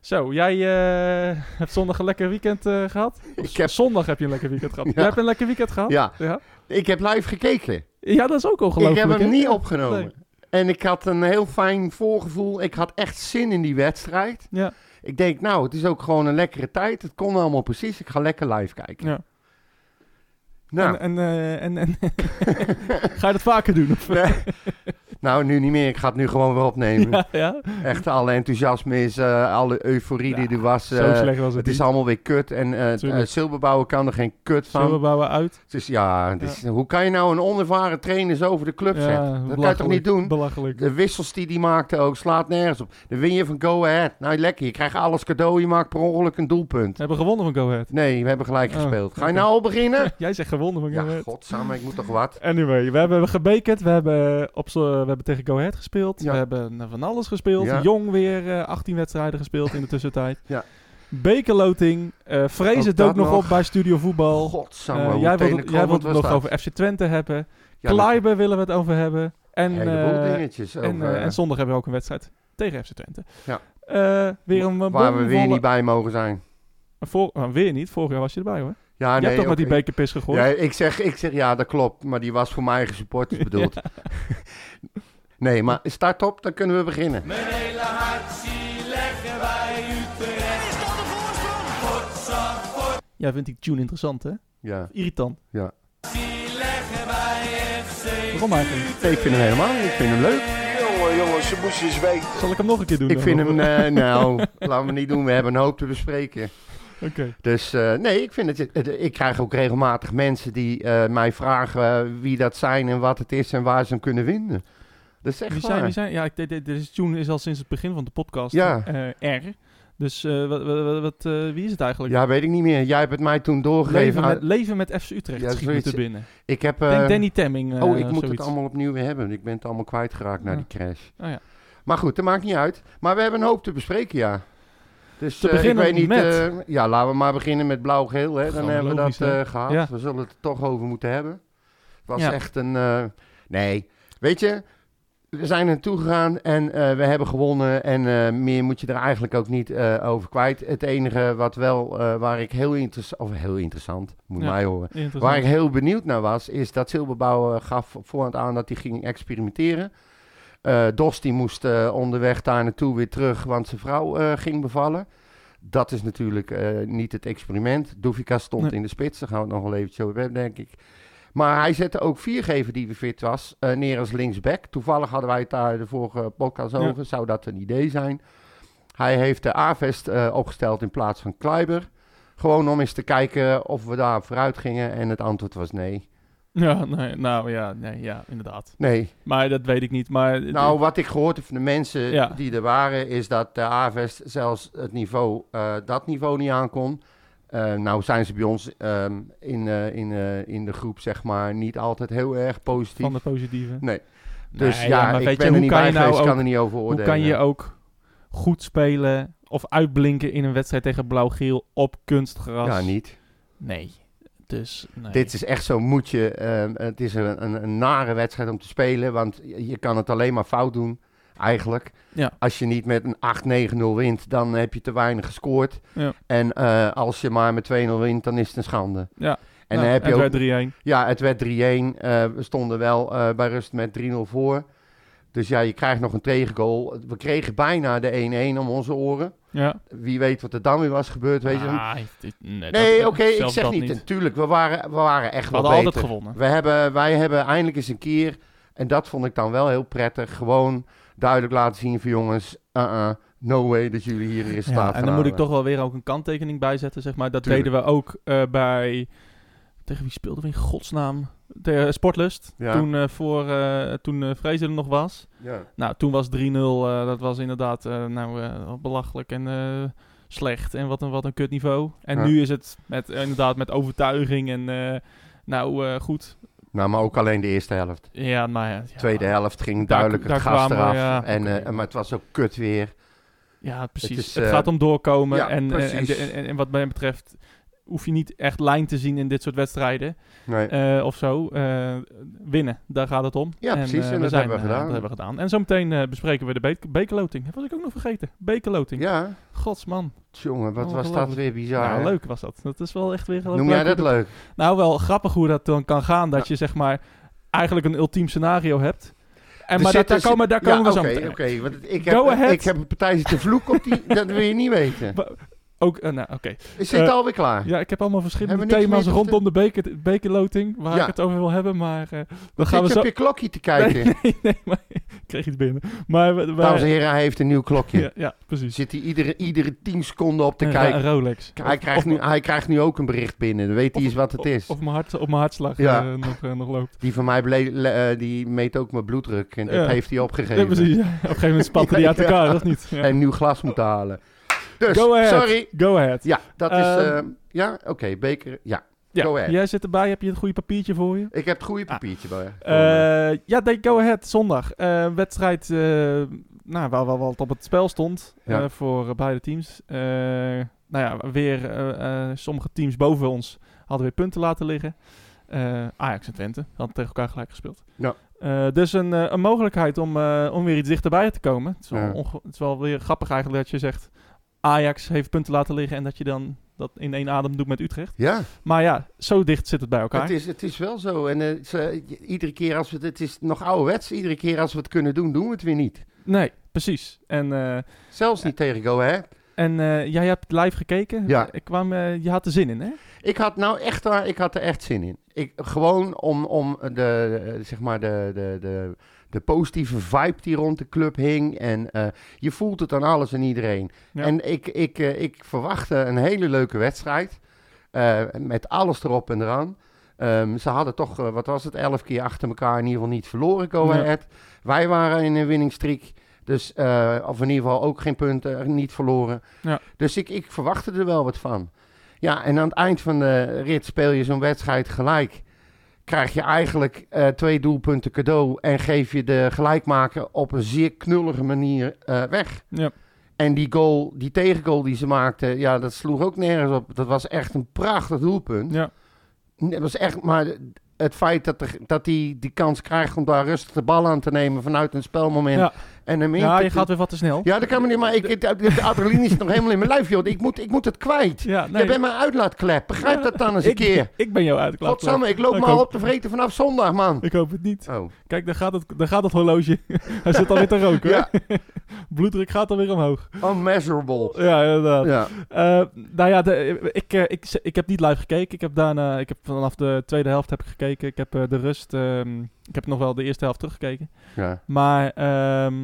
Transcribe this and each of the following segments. Zo, jij eh, hebt zondag een lekker weekend eh, gehad? Ik heb- Zondag heb je een lekker weekend gehad. Ja. Jij hebt een lekker weekend gehad? Ja, Ja, ik heb live gekeken. Ja, dat is ook Ik ongelooflijk. heb hem hè? niet opgenomen. En ik had een heel fijn voorgevoel. Ik had echt zin in die wedstrijd. Ja. Ik denk, nou, het is ook gewoon een lekkere tijd. Het kon allemaal precies. Ik ga lekker live kijken. Ja. Nou, En, en, eh, en, en ga je dat vaker doen? Of? nou, nu niet meer. Ik ga het nu gewoon weer opnemen. eh, Ja, ja. Echt alle enthousiasme is, eh, alle euforie die er was. Zo eh, slecht was het. het is allemaal weer kut. En eh Tuurlijk. eh, Silberbouwer kan er geen kut van. Zullen we bouwen uit? Het is, ja, het is- hoe kan je nou een onervaren trainer zo over de club zetten? Dat kan je toch belachelijk, niet doen? Belachelijk. De wissels die die maakte ook, slaat nergens op. Dan win je van Go Ahead. Nou, lekker. Je krijgt alles cadeau. Je maakt per ongeluk een doelpunt. We hebben gewonnen van Go Ahead. Nee, we hebben gelijk Oh, gespeeld. Ga je oké. nou al beginnen? Jij zegt gewonnen van Go ja, Ahead. godsamme, ik moet toch wat? Anyway, we hebben gebekend, we hebben, op, z'n- we hebben tegen Go Ahead gespeeld, Ja. we hebben eh, van alles gespeeld. Ja. Jong weer eh, 18 wedstrijden gespeeld in de tussentijd. Ja. Bekerloting, eh vrees Ook het ook dat nog nog. op bij Studio Voetbal. Godsamme, Eh, hoe jij wilt, het- tenenkrommend jij wilt het was nog dat? over FC Twente hebben. Ja, dat- Kleiber willen we het over hebben. En, Een heleboel eh, dingetjes. en, over, eh, en zondag hebben we ook een wedstrijd tegen FC Twente. Ja. Eh, weer een eh, waar we weer bomvolle- niet bij mogen zijn. Voor, nou, weer niet, vorig jaar was je erbij hoor. Ja, je Ah, nee, hebt toch met oké. die bekerpis gegooid. Ja, ik, zeg, ik zeg ja, dat klopt. Maar die was voor mijn eigen supporters bedoeld. nee, maar start op, dan kunnen we beginnen. Mijn hele hart zie leggen wij Utrecht. Is dat de voorsprong? Potsa, Jij vindt die tune interessant hè? Ja, Irritant. ja. zie leggen wij FC. Waarom eigenlijk? Ik vind hem helemaal, ik vind hem leuk. Jongen, jongen, ze moest eens weten. Zal ik hem nog een keer doen? Ik dan? vind hem, eh, nou, laten we niet doen. We hebben een hoop te bespreken. Oké. Dus eh, nee, ik vind het. het- ik krijg ook regelmatig mensen die eh, mij vragen eh, wie dat zijn en wat het is en waar ze hem kunnen vinden. Dat is echt Wie waar. zijn, wie zijn, ja, ik, de- de- deze tune is al sinds het begin van de podcast Ja. eh, R. Dus eh, wat, wat, wat- wat, eh, wie is het eigenlijk? Ja, weet ik niet meer. Jij hebt het mij toen leven, doorgegeven. met, leven met FC Utrecht Ja, schiet me te zoiets. binnen. ik heb. Denk eh, Danny Temming. eh, oh, ik moet het zoiets. allemaal opnieuw weer hebben. Ik ben het allemaal kwijtgeraakt na Ja. die crash. Oh ja. Maar goed, dat maakt niet uit. Maar we hebben een hoop te bespreken, ja. Dus Te eh, ik beginnen weet niet. met- eh, ja, laten we maar beginnen met blauw-geel. hè. Dan Gewoon hebben we dat logisch, hè? eh, gehad. Ja. We zullen het er toch over moeten hebben. Het was Ja. echt een. eh, nee, weet je. We zijn er toe gegaan en eh, we hebben gewonnen. En eh, meer moet je er eigenlijk ook niet eh, over kwijt. Het enige wat wel, eh, waar ik heel interessant, of heel interessant, moet Ja. mij horen. Interessant. Waar ik heel benieuwd naar was, is dat Silberbouw eh, gaf op voorhand aan dat hij ging experimenteren. Eh Dos die moest eh, onderweg daar naartoe weer terug, want zijn vrouw eh, ging bevallen. Dat is natuurlijk eh, niet het experiment. Doefika stond Nee. in de spits, daar gaan we het nog wel eventjes over hebben, denk ik. Maar hij zette ook viergever die weer fit was, eh, neer als linksback. Toevallig hadden wij het daar de vorige podcast Ja. over, zou dat een idee zijn. Hij heeft de Avest eh, opgesteld in plaats van Kleiber. Gewoon om eens te kijken of we daar vooruit gingen. En het antwoord was nee. Ja, nee, nou ja, nee, ja, inderdaad. Nee. Maar dat weet ik niet. Maar, Nou, wat ik gehoord heb van de mensen Ja. die er waren, is dat de Avest zelfs het niveau, eh, dat niveau niet aankon. Eh, nou zijn ze bij ons ehm, in, eh, in, eh, in de groep, zeg maar, niet altijd heel erg positief. van de positieve. Nee. Nee, Dus ja, maar ik weet ben je, er hoe niet kan bij je nou geweest, ook, ik kan er niet over Hoe oordelen. kan je ook goed spelen of uitblinken in een wedstrijd tegen blauw-geel op kunstgras? Ja, niet. Nee. Dus, nee. Dit is echt zo'n moetje. ehm, het is een, een, een nare wedstrijd om te spelen, want je je kan het alleen maar fout doen, eigenlijk. Ja. Als je niet met een 8-9-0 wint, dan heb je te weinig gescoord. Ja. En eh, als je maar met 2-0 wint, dan is het een schande. Ja. En Nou, dan heb je het ook... werd 3-1. Ja, het werd 3-1. eh, we stonden wel eh, bij rust met 3-0 voor. Dus ja, je krijgt nog een tegengoal. We kregen bijna de 1-1 om onze oren. Ja. Wie weet wat er dan weer was gebeurd, weet je. Ah, dit- nee, nee, oké, dat- ik zelfs zeg dat niet. Natuurlijk, we waren, we waren We echt wel hadden beter. altijd gewonnen. We hebben, wij hebben eindelijk eens een keer, en dat vond ik dan wel heel prettig, gewoon duidelijk laten zien van jongens, uh-uh, no way dat jullie hier in Ja, staat en dan moet ik toch wel weer ook een kanttekening bijzetten, zeg maar. Dat Tuurlijk. deden we ook eh, bij... Tegen wie speelden we in godsnaam? Tegen Sportlust. Ja. Toen, eh voor, eh, toen eh Vreese er nog was. Ja. Nou, toen was 3-0. eh, dat was inderdaad eh, nou, eh, belachelijk en eh, slecht. En wat een, wat een kut niveau. En Ja. nu is het met, eh, inderdaad met overtuiging. En eh, nou, eh, goed. Nou, maar ook alleen de eerste helft. Ja, maar... ja, ja. Tweede helft ging Daar- duidelijk daar het gas kwamen we, eraf. ja. en, eh, Oké. maar het was ook kut weer. Ja, precies. Het, is, eh, gaat om doorkomen. ja, en, en, en, precies. en, en wat mij betreft hoef je niet echt lijn te zien in dit soort wedstrijden Nee. eh, of zo. Eh, winnen, daar gaat het om. Ja, precies, en eh, we dat zijn, hebben we eh, gedaan. dat hebben we gedaan. En zometeen eh, bespreken we de be- bekerloting. Dat was ik ook nog vergeten. Bekerloting. ja, Godsman. jongen, wat was dat Oh, Ongelooflijk. weer bizar. nou, hè? leuk was dat. Dat is wel echt weer... heel Noem leuk jij hoe dat leuk? nou, wel grappig hoe dat dan kan gaan. Dat je zeg maar eigenlijk een ultiem scenario hebt. En Er maar dat, zit daar een- komen, daar Ja, komen we zo oké, meteen. Oké, want ik Go heb, ahead. ik heb een partij zitten vloek op die, dat wil je niet weten. Wa- Ook, eh, nou, oké. Is dit Eh, alweer klaar? Ja, ik heb allemaal verschillende Hebben we niks thema's meer te rondom de beker, bekerloting waar Ja. ik het over wil hebben, maar eh dan Zit gaan we je zo... op je klokje te kijken? Nee, nee, maar ik kreeg iets binnen. Maar we, we- Dames en heren, hij heeft een nieuw klokje. ja, ja, precies. Zit hij iedere, iedere tien seconden op te Een ra- kijken. een Rolex. Hij krijgt, nu, hij krijgt nu ook een bericht binnen. Dan weet hij eens wat het is. Of mijn, hart, op mijn hartslag Ja. eh, nog, eh, nog loopt. Die van mij ble- le- eh, die meet ook mijn bloeddruk. En dat Ja. heeft hij Ja, opgegeven. precies. ja. Op een gegeven moment spatten die Ja, uit elkaar, ja. of niet? Ja. Hij heeft een nieuw glas moeten halen. Dus, Go ahead. sorry. Go ahead. Ja, dat is... Ehm. eh, ja, oké, beker. Ja, Ja, Go ahead. Jij zit erbij, heb je het goede papiertje voor je? ik heb het goede papiertje bij. Ah. Eh, ja, nee, go ahead, zondag. Eh, wedstrijd eh, nou, waar, waar wat op het spel stond Ja. eh, voor eh, beide teams. Eh, nou ja, weer eh, eh, sommige teams boven ons hadden weer punten laten liggen. Eh, Ajax en Twente hadden tegen elkaar gelijk gespeeld. Ja. Eh, dus een, eh, een mogelijkheid om, eh, om weer iets dichterbij te komen. Het is, wel Ja. onge- het is wel weer grappig eigenlijk dat je zegt... Ajax heeft punten laten liggen en dat je dan dat in één adem doet met Utrecht. ja, Maar ja, zo dicht zit het bij elkaar. het is, het is wel zo. En eh, het is, eh, iedere keer als we het... Het is nog ouderwets. Iedere keer als we het kunnen doen, doen we het weer niet. Nee, precies. En... eh, Zelfs niet tegen Go Ahead. En eh, jij hebt live gekeken. Ja. Ik kwam, eh, je had er zin in, hè? Ik had nou echt waar, ik had er echt zin in. Ik, gewoon om, om de, eh, zeg maar de, de, de, de positieve vibe die rond de club hing. En eh, je voelt het aan alles en iedereen. Ja. En ik, ik, eh, ik verwachtte een hele leuke wedstrijd. eh, met alles erop en eraan. Ehm, ze hadden toch, eh, wat was het, elf keer achter elkaar in ieder geval niet verloren, Go Ja. Ahead. Wij waren in een winningstreek. Dus, eh, of in ieder geval ook geen punten, eh, niet verloren. Ja. Dus ik, ik verwachtte er wel wat van. Ja, en aan het eind van de rit speel je zo'n wedstrijd gelijk. Krijg je eigenlijk eh, twee doelpunten cadeau en geef je de gelijkmaker op een zeer knullige manier eh, weg. Ja. En die goal, die tegengoal die ze maakten, ja, dat sloeg ook nergens op. Dat was echt een prachtig doelpunt. Ja. Nee, Dat was echt, maar het feit dat hij dat die, die kans krijgt om daar rustig de bal aan te nemen vanuit een spelmoment. Ja. En hem in Ja, te- je gaat weer wat te snel. ja, dat kan me niet, maar ik, de, de adrenaline is nog helemaal in mijn lijf, joh. Ik moet, ik moet het kwijt. Ja, Je bent mijn uitlaatklep. Begrijp dat dan eens een ik, keer. Ik ben jou uitgeklapt. Godsamme, ik loop Ik me al ook. op te vreten vanaf zondag, man. Ik hoop het niet. Oh, Kijk, daar gaat het, daar gaat het horloge. Hij zit alweer te roken. ja, Bloeddruk gaat alweer omhoog. unmeasurable. Ja, inderdaad. Ja, Eh, nou ja, de, ik, eh, ik, ik heb niet live gekeken. Ik heb daarna, ik heb vanaf de tweede helft heb ik gekeken. Ik heb eh, de rust, ehm, ik heb nog wel de eerste helft teruggekeken. ja. Maar ehm,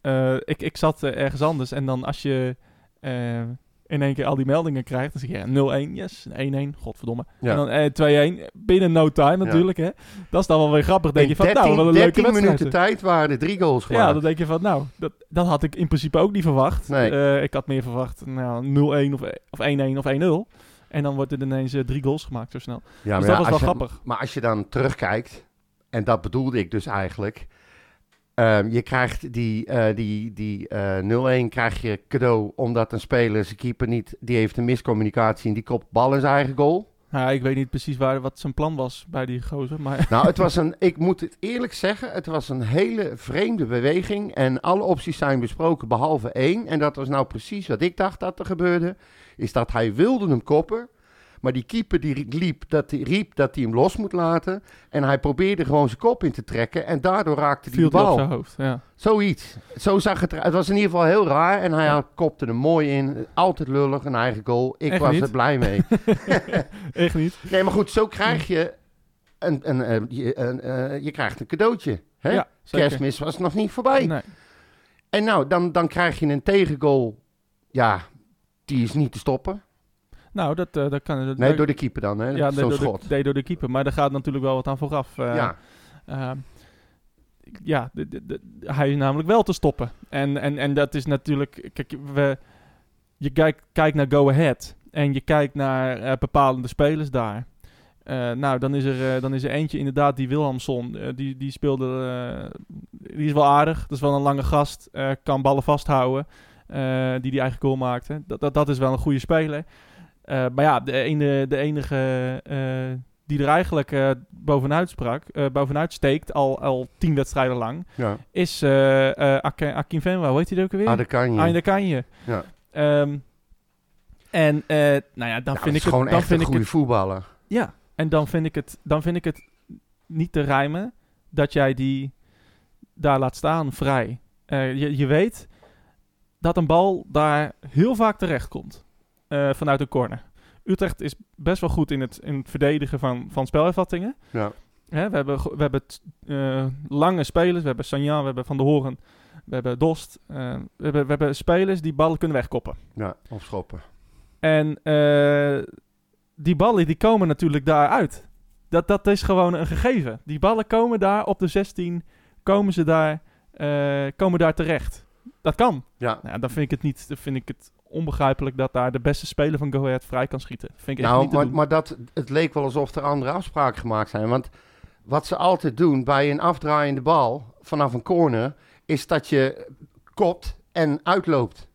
eh, ik, ik zat eh, ergens anders. En dan als je eh, in één keer al die meldingen krijgt, dan zeg je ja, 0-1, yes, 1-1, godverdomme. Ja. En dan eh, 2-1, binnen no time natuurlijk. Hè. Dat is dan wel weer grappig. denk In je van, 13, nou, wat een leuke 13 wedstrijd. minuten tijd waren er drie goals Ja, gemaakt. dan denk je van, nou, dat, dat had ik in principe ook niet verwacht. Nee. Eh, ik had meer verwacht, nou, 0-1 of, of 1-1 of 1-0. En dan wordt er ineens eh, drie goals gemaakt zo snel. Ja, dus dat was als wel je- grappig. Maar als je dan terugkijkt, en dat bedoelde ik dus eigenlijk. ehm, je krijgt die, eh, die, die eh, 0-1 krijg je cadeau omdat een speler, zijn keeper niet, die heeft een miscommunicatie en die kopt bal in zijn eigen goal. Nou, ik weet niet precies waar, wat zijn plan was bij die gozer, maar... Nou, het was een, ik moet het eerlijk zeggen, het was een hele vreemde beweging. En alle opties zijn besproken behalve één. En dat was nou precies wat ik dacht dat er gebeurde. Is dat hij wilde hem koppen. Maar die keeper die ri- liep, dat die riep dat hij hem los moet laten. En hij probeerde gewoon zijn kop in te trekken. En daardoor raakte hij Viel de die op bal. zijn hoofd, ja. Zoiets. Zo zag het eruit. Het was in ieder geval heel raar. En hij had- kopte hem mooi in. Altijd lullig, een eigen goal. Ik Echt was niet? er blij mee. Echt niet. Nee, maar goed, zo krijg je een, een, eh, je, een, eh, je krijgt een cadeautje. Hè? Ja, zeker. Kerstmis was nog niet voorbij. Nee. En nou, dan, dan krijg je een tegengoal. Ja, die is niet te stoppen. Nou, dat, eh, dat kan... dat- Nee, dat- door de keeper dan, hè? ja, nee, Zo'n door schot. De, nee, door de keeper. Maar daar gaat natuurlijk wel wat aan vooraf. eh, ja, ehm, ik- ja, de- de- de- hij is namelijk wel te stoppen. En, en, en dat is natuurlijk... Kijk, we, je kijkt, kijkt naar Go Ahead. En je kijkt naar eh, bepalende spelers daar. Eh, nou, dan is, er, eh, dan is er eentje inderdaad, die Wilhelmson. eh, die, die speelde... eh, die is wel aardig. Dat is wel een lange gast. eh, kan ballen vasthouden. eh, die die eigen goal maakte. Dat, dat, dat is wel een goede speler. Eh, Eh, maar ja, de, ene, de enige eh, die er eigenlijk eh, bovenuit, sprak, eh, bovenuit steekt al, al tien wedstrijden lang, Ja. is eh eh Ake- Akin Venwa. Hoe heet hij ook alweer? Ah, dat kan je. Ah, dat kan je. Ja. Ehm, en eh, nou ja, dan Nou, dat vind is ik het... gewoon Dan echt een vind ik goede het voetballer. ja, en dan vind, ik het, dan vind ik het niet te rijmen dat jij die daar laat staan vrij. Eh, je, je weet dat een bal daar heel vaak terecht komt eh, vanuit een corner. Utrecht is best wel goed in het, in het verdedigen van, van spelervattingen. Ja. Hè, we hebben, go- we hebben t- eh, lange spelers. We hebben Sanjan, we hebben Van der Horen, we hebben Dost. eh, we, hebben, we hebben spelers die ballen kunnen wegkoppen. Ja, of schoppen. En eh, die ballen die komen natuurlijk daaruit. Dat, dat is gewoon een gegeven. Die ballen komen daar op de 16, komen ze daar, eh, komen daar terecht. Dat kan. Ja. Nou, ja, dan vind ik het niet, dan vind ik het onbegrijpelijk dat daar de beste speler van Go Ahead vrij kan schieten. Vind ik echt Nou, niet te maar, doen. maar dat, het leek wel alsof er andere afspraken gemaakt zijn. Want wat ze altijd doen bij een afdraaiende bal vanaf een corner, is dat je kopt en uitloopt.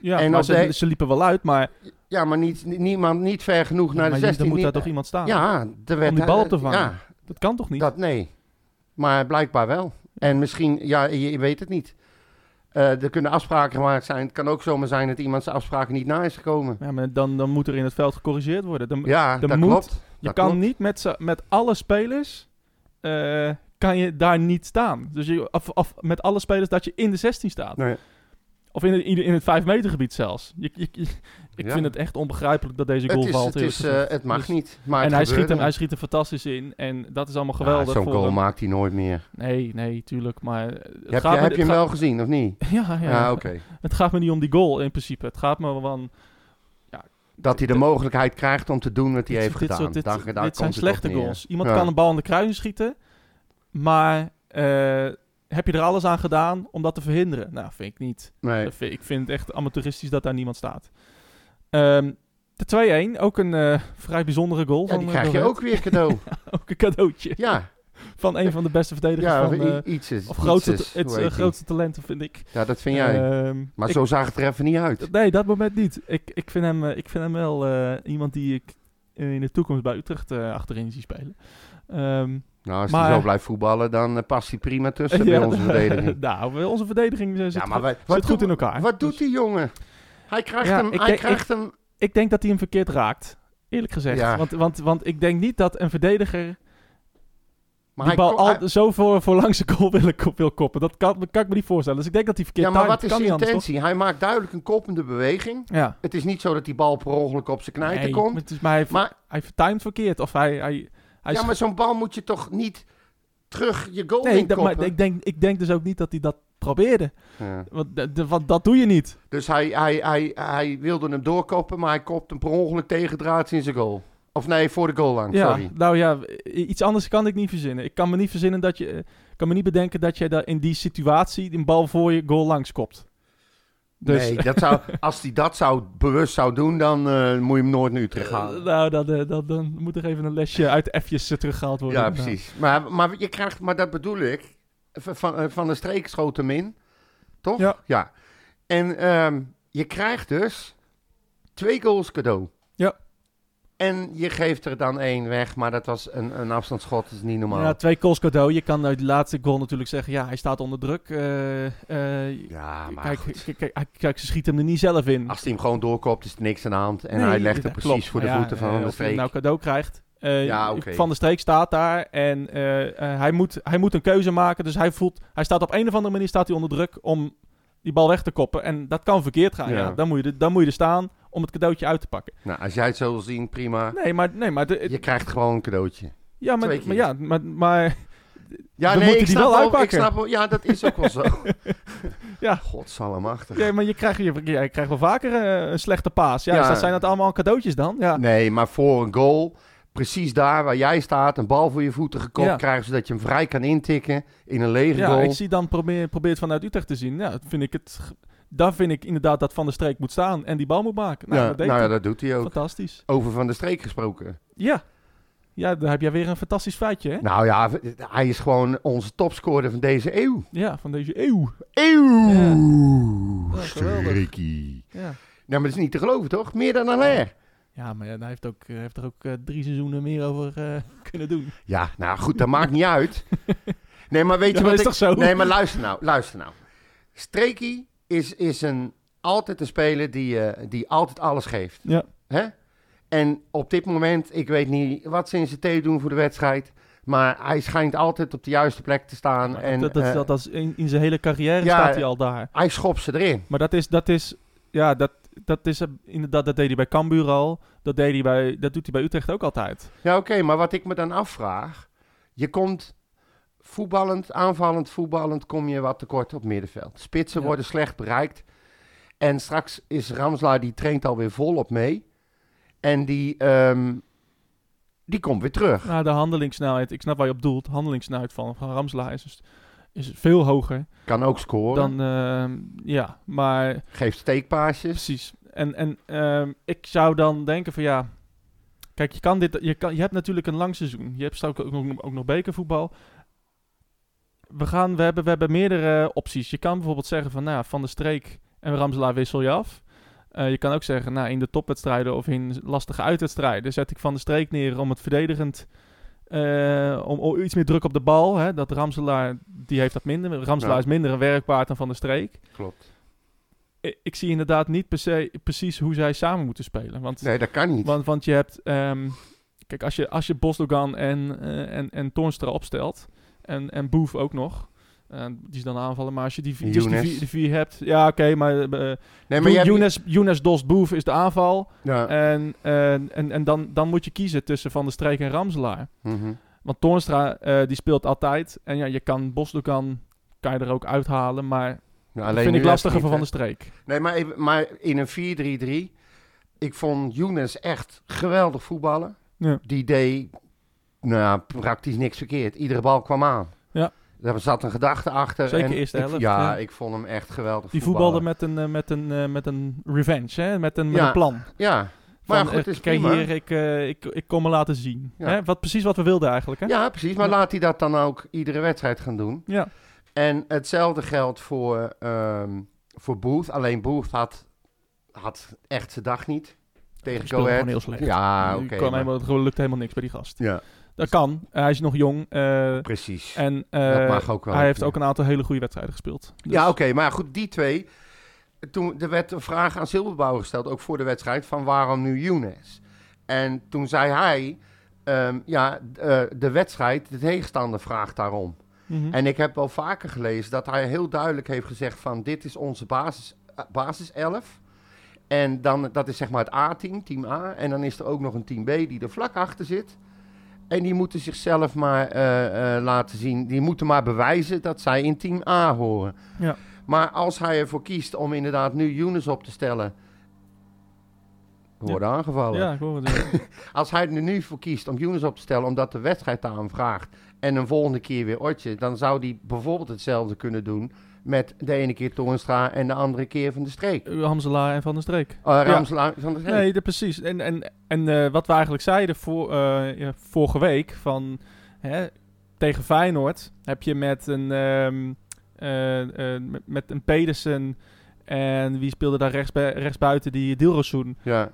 ja, en maar als ze, de- ze liepen wel uit, maar, Ja, maar niet, niet- niemand niet ver genoeg maar naar de je- 16. dan moet niet- daar toch iemand staan. Ja, er werd, die bal op te vangen. Ja, Dat kan toch niet? dat nee. Maar blijkbaar wel. En misschien, ja, je, je weet het niet. Eh, er kunnen afspraken gemaakt zijn. Het kan ook zomaar zijn dat iemand zijn afspraken niet na is gekomen. Ja, maar dan, dan moet er in het veld gecorrigeerd worden. Dan, Ja, de dat moed- klopt. Je Dat kan klopt. niet met, z'n- met alle spelers eh, kan je daar niet staan. Dus je, of, of met alle spelers dat je in de 16 staat. Nee. Of in, de- in, de- in het 5 meter gebied zelfs. Je, je- je- ik Ja. vind het echt onbegrijpelijk dat deze goal Het, is, valt. het, eerlijk is, eh, gezegd. het mag Dus- niet. Maar en het hij schiet, gebeurde. hem, hij schiet er fantastisch in. En dat is allemaal geweldig. Ja, Zo'n voor goal hem. maakt hij nooit meer. Nee, nee, tuurlijk. Maar eh, het Heb je, gaat me- heb je hem het wel gezien, of niet? gaat- Ja, ja. Ja, oké. Het gaat me niet om die goal in principe. Het gaat me wel om... Dat hij de Dit- mogelijkheid krijgt om te doen wat hij Dit- heeft dit gedaan. soort- dit- Daar- dit daar zijn komt het op slechte neer. goals. Iemand Ja. kan een bal in de kruin schieten, maar eh, heb je er alles aan gedaan om dat te verhinderen? Nou, vind ik niet. Nee. Dat vind- Ik vind het echt amateuristisch dat daar niemand staat. Ehm, de 2-1, ook een eh, vrij bijzondere goal. Ja, van, die eh, krijg je Goethe. ook weer cadeau. Ook een cadeautje ja, van een van de beste verdedigers ja van... i- eh, iets is. of iets grootste, is, het, hoe eh, heet die? grootste talenten, vind ik. Ja, dat vind jij. Ehm, maar ik- zo zag het er even niet uit. Nee, dat moment niet. Ik, ik, vind, hem, eh, ik vind hem wel eh, iemand die ik eh, in de toekomst bij Utrecht eh, achterin zie spelen. Ehm, Nou, als maar- hij zo blijft voetballen, dan eh, past hij prima tussen ja, bij onze verdediging. nou, bij onze verdediging eh, zit, ja, maar goed, wij- zit wat, goed in doe- elkaar. wat doet Dus die jongen? Hij krijgt Ja, hem, ik hij denk- krijgt hem ik denk dat hij hem verkeerd raakt, eerlijk gezegd. Ja. Want, want, want ik denk niet dat een verdediger maar die hij bal kon- hij- al zo voor, voor langs de goal wil, wil koppen. Dat kan, kan ik me niet voorstellen. Dus ik denk dat hij verkeerd Ja, maar timed. wat is Kan de niet anders, intentie? Hij maakt duidelijk een koppende beweging. toch? Ja. Het is niet zo dat die bal per ongeluk op zijn knijter Nee, komt. maar het is- maar hij, Maar- hij vertimed verkeerd. Of hij, hij, hij ja, maar zo'n bal moet je toch niet terug je goal Nee, in ik, denk- maar koppen? ik, denk, ik denk dus ook niet dat hij dat probeerde. Ja. Want, de- de- want dat doe je niet. Dus hij, hij, hij, hij wilde hem doorkoppen, maar hij kopt hem per ongeluk tegendraads in zijn goal. Of nee, voor de goal lang, Ja, sorry. nou ja, i- iets anders kan ik niet verzinnen. Ik kan me niet verzinnen dat je... eh, kan me niet bedenken dat jij daar in die situatie een bal voor je goal langs kopt. Dus, Nee, dat zou, als hij dat zou, bewust zou doen, dan eh, moet je hem nooit naar Utrecht halen. Eh, nou, dan, eh, dan, dan moet er even een lesje uit de F'jes eh, teruggehaald worden. ja, precies. Maar, maar, je krijgt, maar dat bedoel ik. Van- Van, eh, van de streek schoot hem in, toch? Ja. En ehm, je krijgt dus twee goals cadeau. Ja. En je geeft er dan één weg, maar dat was een, een afstandsschot, dat is niet normaal. Ja, twee goals cadeau. Je kan uit die laatste goal natuurlijk zeggen... Ja, hij staat onder druk. eh, eh, Ja, maar kijk, goed. kijk, kijk, kijk, ze schieten hem er niet zelf in. Als hij hem gewoon doorkopt, is er niks aan de hand. En Nee, hij legt dat hem precies klopt. voor de Maar ja, voeten eh, van de Of hij hem streek. nou cadeau krijgt. Eh, Ja, oké. Van de Streek staat daar en eh, eh, hij, moet, hij moet een keuze maken. Dus hij voelt, hij staat op een of andere manier staat hij onder druk om die bal weg te koppen. En dat kan verkeerd gaan. Ja. Ja. dan, moet je, er- dan moet je er staan om het cadeautje uit te pakken. Nou, als jij het zo wil zien, prima. Nee, maar... Nee, maar de- het- Je krijgt gewoon een cadeautje. ja, maar, twee keer. maar, ja, maar, maar Ja, Dan nee, moet hij ik die snap wel wel- uitpakken. Ik snap, wel- ja, dat is ook wel zo. Ja. Godsallemachtig. ja, maar je, krijgt, je, je krijgt wel vaker eh, een slechte paas. Ja, Ja. Dus dat zijn dat allemaal cadeautjes dan? Ja. Nee, maar voor een goal, precies daar waar jij staat, een bal voor je voeten gekopt Ja. krijgen, zodat je hem vrij kan intikken in een lege Ja, goal. ik zie dan probeer, probeer het vanuit Utrecht te zien. Ja, dat vind ik het, ge- daar vind ik inderdaad dat Van de Streek moet staan en die bal moet maken. Nou, ja, dat deed nou ja, hij. dat doet hij ook. Fantastisch. Over Van de Streek gesproken. Ja. Ja, dan heb jij weer een fantastisch feitje, hè? Nou ja, v- hij is gewoon onze topscorer van deze eeuw. Ja, van deze eeuw. Eeuw! Ja, geweldig. Streekie. Ja. Nou, maar dat is niet te geloven, toch? Meer dan Allaire. Ja, maar ja, hij heeft, ook, hij heeft er ook eh, drie seizoenen meer over eh, kunnen doen. Ja, nou goed, dat maakt niet uit. Nee, maar weet Ja, je maar is wat ik... toch zo? Nee, maar luister nou, luister nou. Streekie is, is een, altijd een speler die, eh, die altijd alles geeft. Ja. Hè? En op dit moment, ik weet niet wat ze in zijn thee doen voor de wedstrijd... maar hij schijnt altijd op de juiste plek te staan. Maar En, dat, dat, eh, dat, dat is in, in zijn hele carrière Ja, eh, staat hij al daar. Hij schopt ze erin. Maar dat is, dat is ja, dat, dat is eh, inderdaad, dat deed hij bij Cambuur al. Dat, deed hij bij, dat doet hij bij Utrecht ook altijd. Ja, oké, maar wat ik me dan afvraag... je komt voetballend, aanvallend, voetballend... kom je wat tekort op middenveld. Spitsen Ja. worden slecht bereikt. En straks is Ramslaar, die traint alweer volop mee. En die, ehm, die komt weer terug. Nou, de handelingssnelheid, ik snap waar je op doelt. Handelingssnelheid van, van Ramselaar is, dus- is veel hoger Kan ook scoren, dan, ehm, ja, maar geeft steekpaasjes. Precies. En, en ehm, ik zou dan denken van ja... Kijk, je, kan dit, je, kan, je hebt natuurlijk een lang seizoen. Je hebt straks ook, nog- ook nog bekervoetbal. We, gaan, we, hebben, we hebben meerdere opties. Je kan bijvoorbeeld zeggen van nou, Van de Streek en Ramselaar wissel je af. Eh, je kan ook zeggen, nou, in de topwedstrijden of in lastige uitwedstrijden zet ik Van de Streek neer om het verdedigend... eh, om, om iets meer druk op de bal. Hè? Dat Ramselaar, die heeft dat minder. Ramselaar Ja. is minder een werkpaard dan Van de Streek Klopt. ik ik zie inderdaad niet per se, precies hoe zij samen moeten spelen. Want, Nee, dat kan niet. want, want je hebt... ehm, kijk, als je, als je Bosdogan en, eh, en, en Toornstra opstelt... en, en Boef ook nog... eh, die is dan aanvallen, maar als je die, vi- dus die, Younes. vier, die vier hebt... Ja, oké, maar... eh Nee, maar Yo- je hebt- Younes, Younes, Dost, Boef is de aanval. Ja. En, eh, en, en, en dan, dan moet je kiezen tussen Van der Streek en Ramselaar. mhm. Want Toornstra, eh, die speelt altijd. En ja, je kan Bosdogan... kan je er ook uithalen, maar... Nou, dat alleen vind ik nu even lastiger voor niet, hè. Van der Streek. Nee, maar, even- maar in een 4-3-3. Ik vond Younes echt geweldig voetballen. Ja. Die deed nou, ja, praktisch niks verkeerd. Iedere bal kwam aan. Ja. Daar zat een gedachte achter. Zeker en eerste ik- helft, ja, ja. ik vond hem echt geweldig Die voetbalde voetballen. met een, eh, met een, eh, met een revenge, hè? Met, een, met Ja, een plan. Ja, maar Van, goed, het eh, is kijk prima. hier, ik, eh, ik, ik kom me laten zien. Ja. Hè? Wat, precies wat we wilden eigenlijk, hè? ja, precies. Maar Ja. laat hij dat dan ook iedere wedstrijd gaan doen. Ja. En hetzelfde geldt voor, ehm, voor Booth. Alleen Booth had, had echt zijn dag niet. Tegen Speelde Go Ahead. gewoon heel slecht. Ja, Die Ah, oké. kwam maar- helemaal, het lukt helemaal niks bij die gast. ja, Dat kan. Eh, hij is nog jong. eh, precies. en dat eh, mag ook wel. hij heeft Ja. ook een aantal hele goede wedstrijden gespeeld. Dus- Ja, oké, maar goed, die twee. Toen er werd een vraag aan Silberbouw gesteld, ook voor de wedstrijd, van waarom nu Younes? En toen zei hij, ehm, ja, d- eh, de wedstrijd, de tegenstander vraagt daarom. Mhm. En ik heb wel vaker gelezen dat hij heel duidelijk heeft gezegd van, dit is onze basis, eh, basis 11. En dan, dat is zeg maar het A-team, team A. En dan is er ook nog een team B die er vlak achter zit. En die moeten zichzelf maar eh, eh, laten zien. Die moeten maar bewijzen dat zij in team A horen. Ja. Maar als hij ervoor kiest om inderdaad nu Younes op te stellen... We worden aangevallen. ja, ik hoor het. ja. Als hij er nu voor kiest om Younes op te stellen... omdat de wedstrijd daarom vraagt... en een volgende keer weer Otje... dan zou hij bijvoorbeeld hetzelfde kunnen doen... met de ene keer Toornstra en de andere keer Van de Streek. Hamzelaar en Van der Streek. Eh, Ramselaar van de Streek. Nee, dat precies. En, en, en eh, wat we eigenlijk zeiden voor, eh, ja, vorige week, van hè, tegen Feyenoord heb je met een, ehm, eh, eh, met, met een Pedersen en wie speelde daar rechts, buiten die Dilrosun. Ja.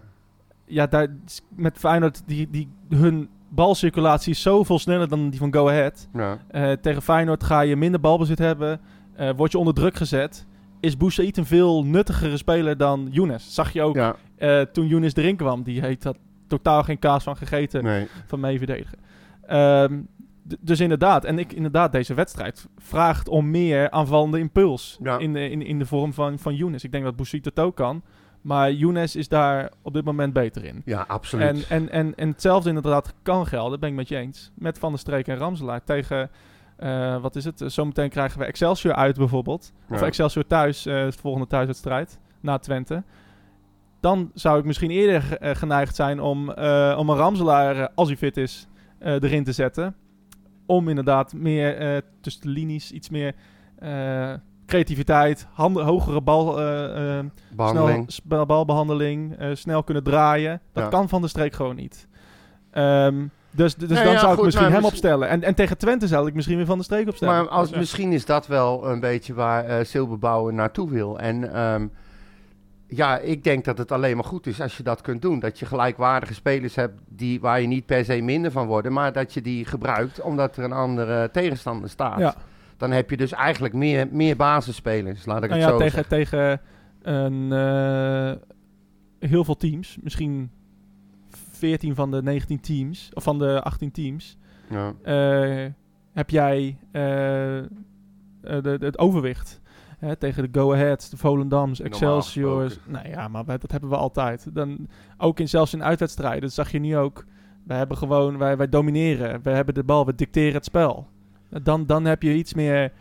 Ja, daar, s- met Feyenoord, die, die, hun balcirculatie is zoveel sneller dan die van Go Ahead. Ja. Eh, tegen Feyenoord ga je minder balbezit hebben, eh, word je onder druk gezet. Is Boussaïd een veel nuttigere speler dan Younes? Zag je ook ja. eh, toen Younes erin kwam, die heeft dat totaal geen kaas van gegeten Nee. van mee verdedigen. Ehm, d- dus inderdaad, en ik inderdaad, deze wedstrijd vraagt om meer aanvallende impuls Ja. in, de, in, in de vorm van, van Younes. Ik denk dat Boussaïd het ook kan, maar Younes is daar op dit moment beter in. Ja, absoluut. En, en, en, en hetzelfde inderdaad kan gelden, ben ik met je eens, met Van der Streek en Ramselaar tegen, eh, wat is het, zometeen krijgen we Excelsior uit bijvoorbeeld. Of Ja. Excelsior thuis, eh de volgende thuiswedstrijd, na Twente. Dan zou ik misschien eerder ge- eh, geneigd zijn om, eh, om een Ramselaar, eh, als hij fit is, eh, erin te zetten. Om inderdaad meer eh, tussen de linies, iets meer eh, creativiteit, handen, hogere bal, eh, eh, snel, Behandeling. sp- balbehandeling, eh, snel kunnen draaien. Dat Ja. kan van de streek gewoon niet. Ehm, dus dus Nee, dan ja, zou ik goed, misschien maar hem miss- opstellen. En, en tegen Twente zou ik misschien weer van de streek opstellen. Maar als, Ja. misschien is dat wel een beetje waar eh Silberbouwer naartoe wil. En ehm, ja, ik denk dat het alleen maar goed is als je dat kunt doen. Dat je gelijkwaardige spelers hebt die, waar je niet per se minder van worden, maar dat je die gebruikt omdat er een andere tegenstander staat. Ja. Dan heb je dus eigenlijk meer, meer basisspelers, laat ik Nou het ja, zo tegen, zeggen. tegen een, eh, heel veel teams, misschien 14 van de 19 teams, of van de 18 teams, Ja. eh, heb jij eh, eh, de, de- het overwicht. Hè, tegen de Go Ahead, de Volendams, Normaal Excelsior. gesproken. Nou ja, maar wij- dat hebben we altijd. Dan, ook in, zelfs in uitwedstrijden, dat zag je nu ook. Wij hebben gewoon, wij, wij domineren. We hebben de bal, we dicteren het spel. Dan, dan heb je iets meer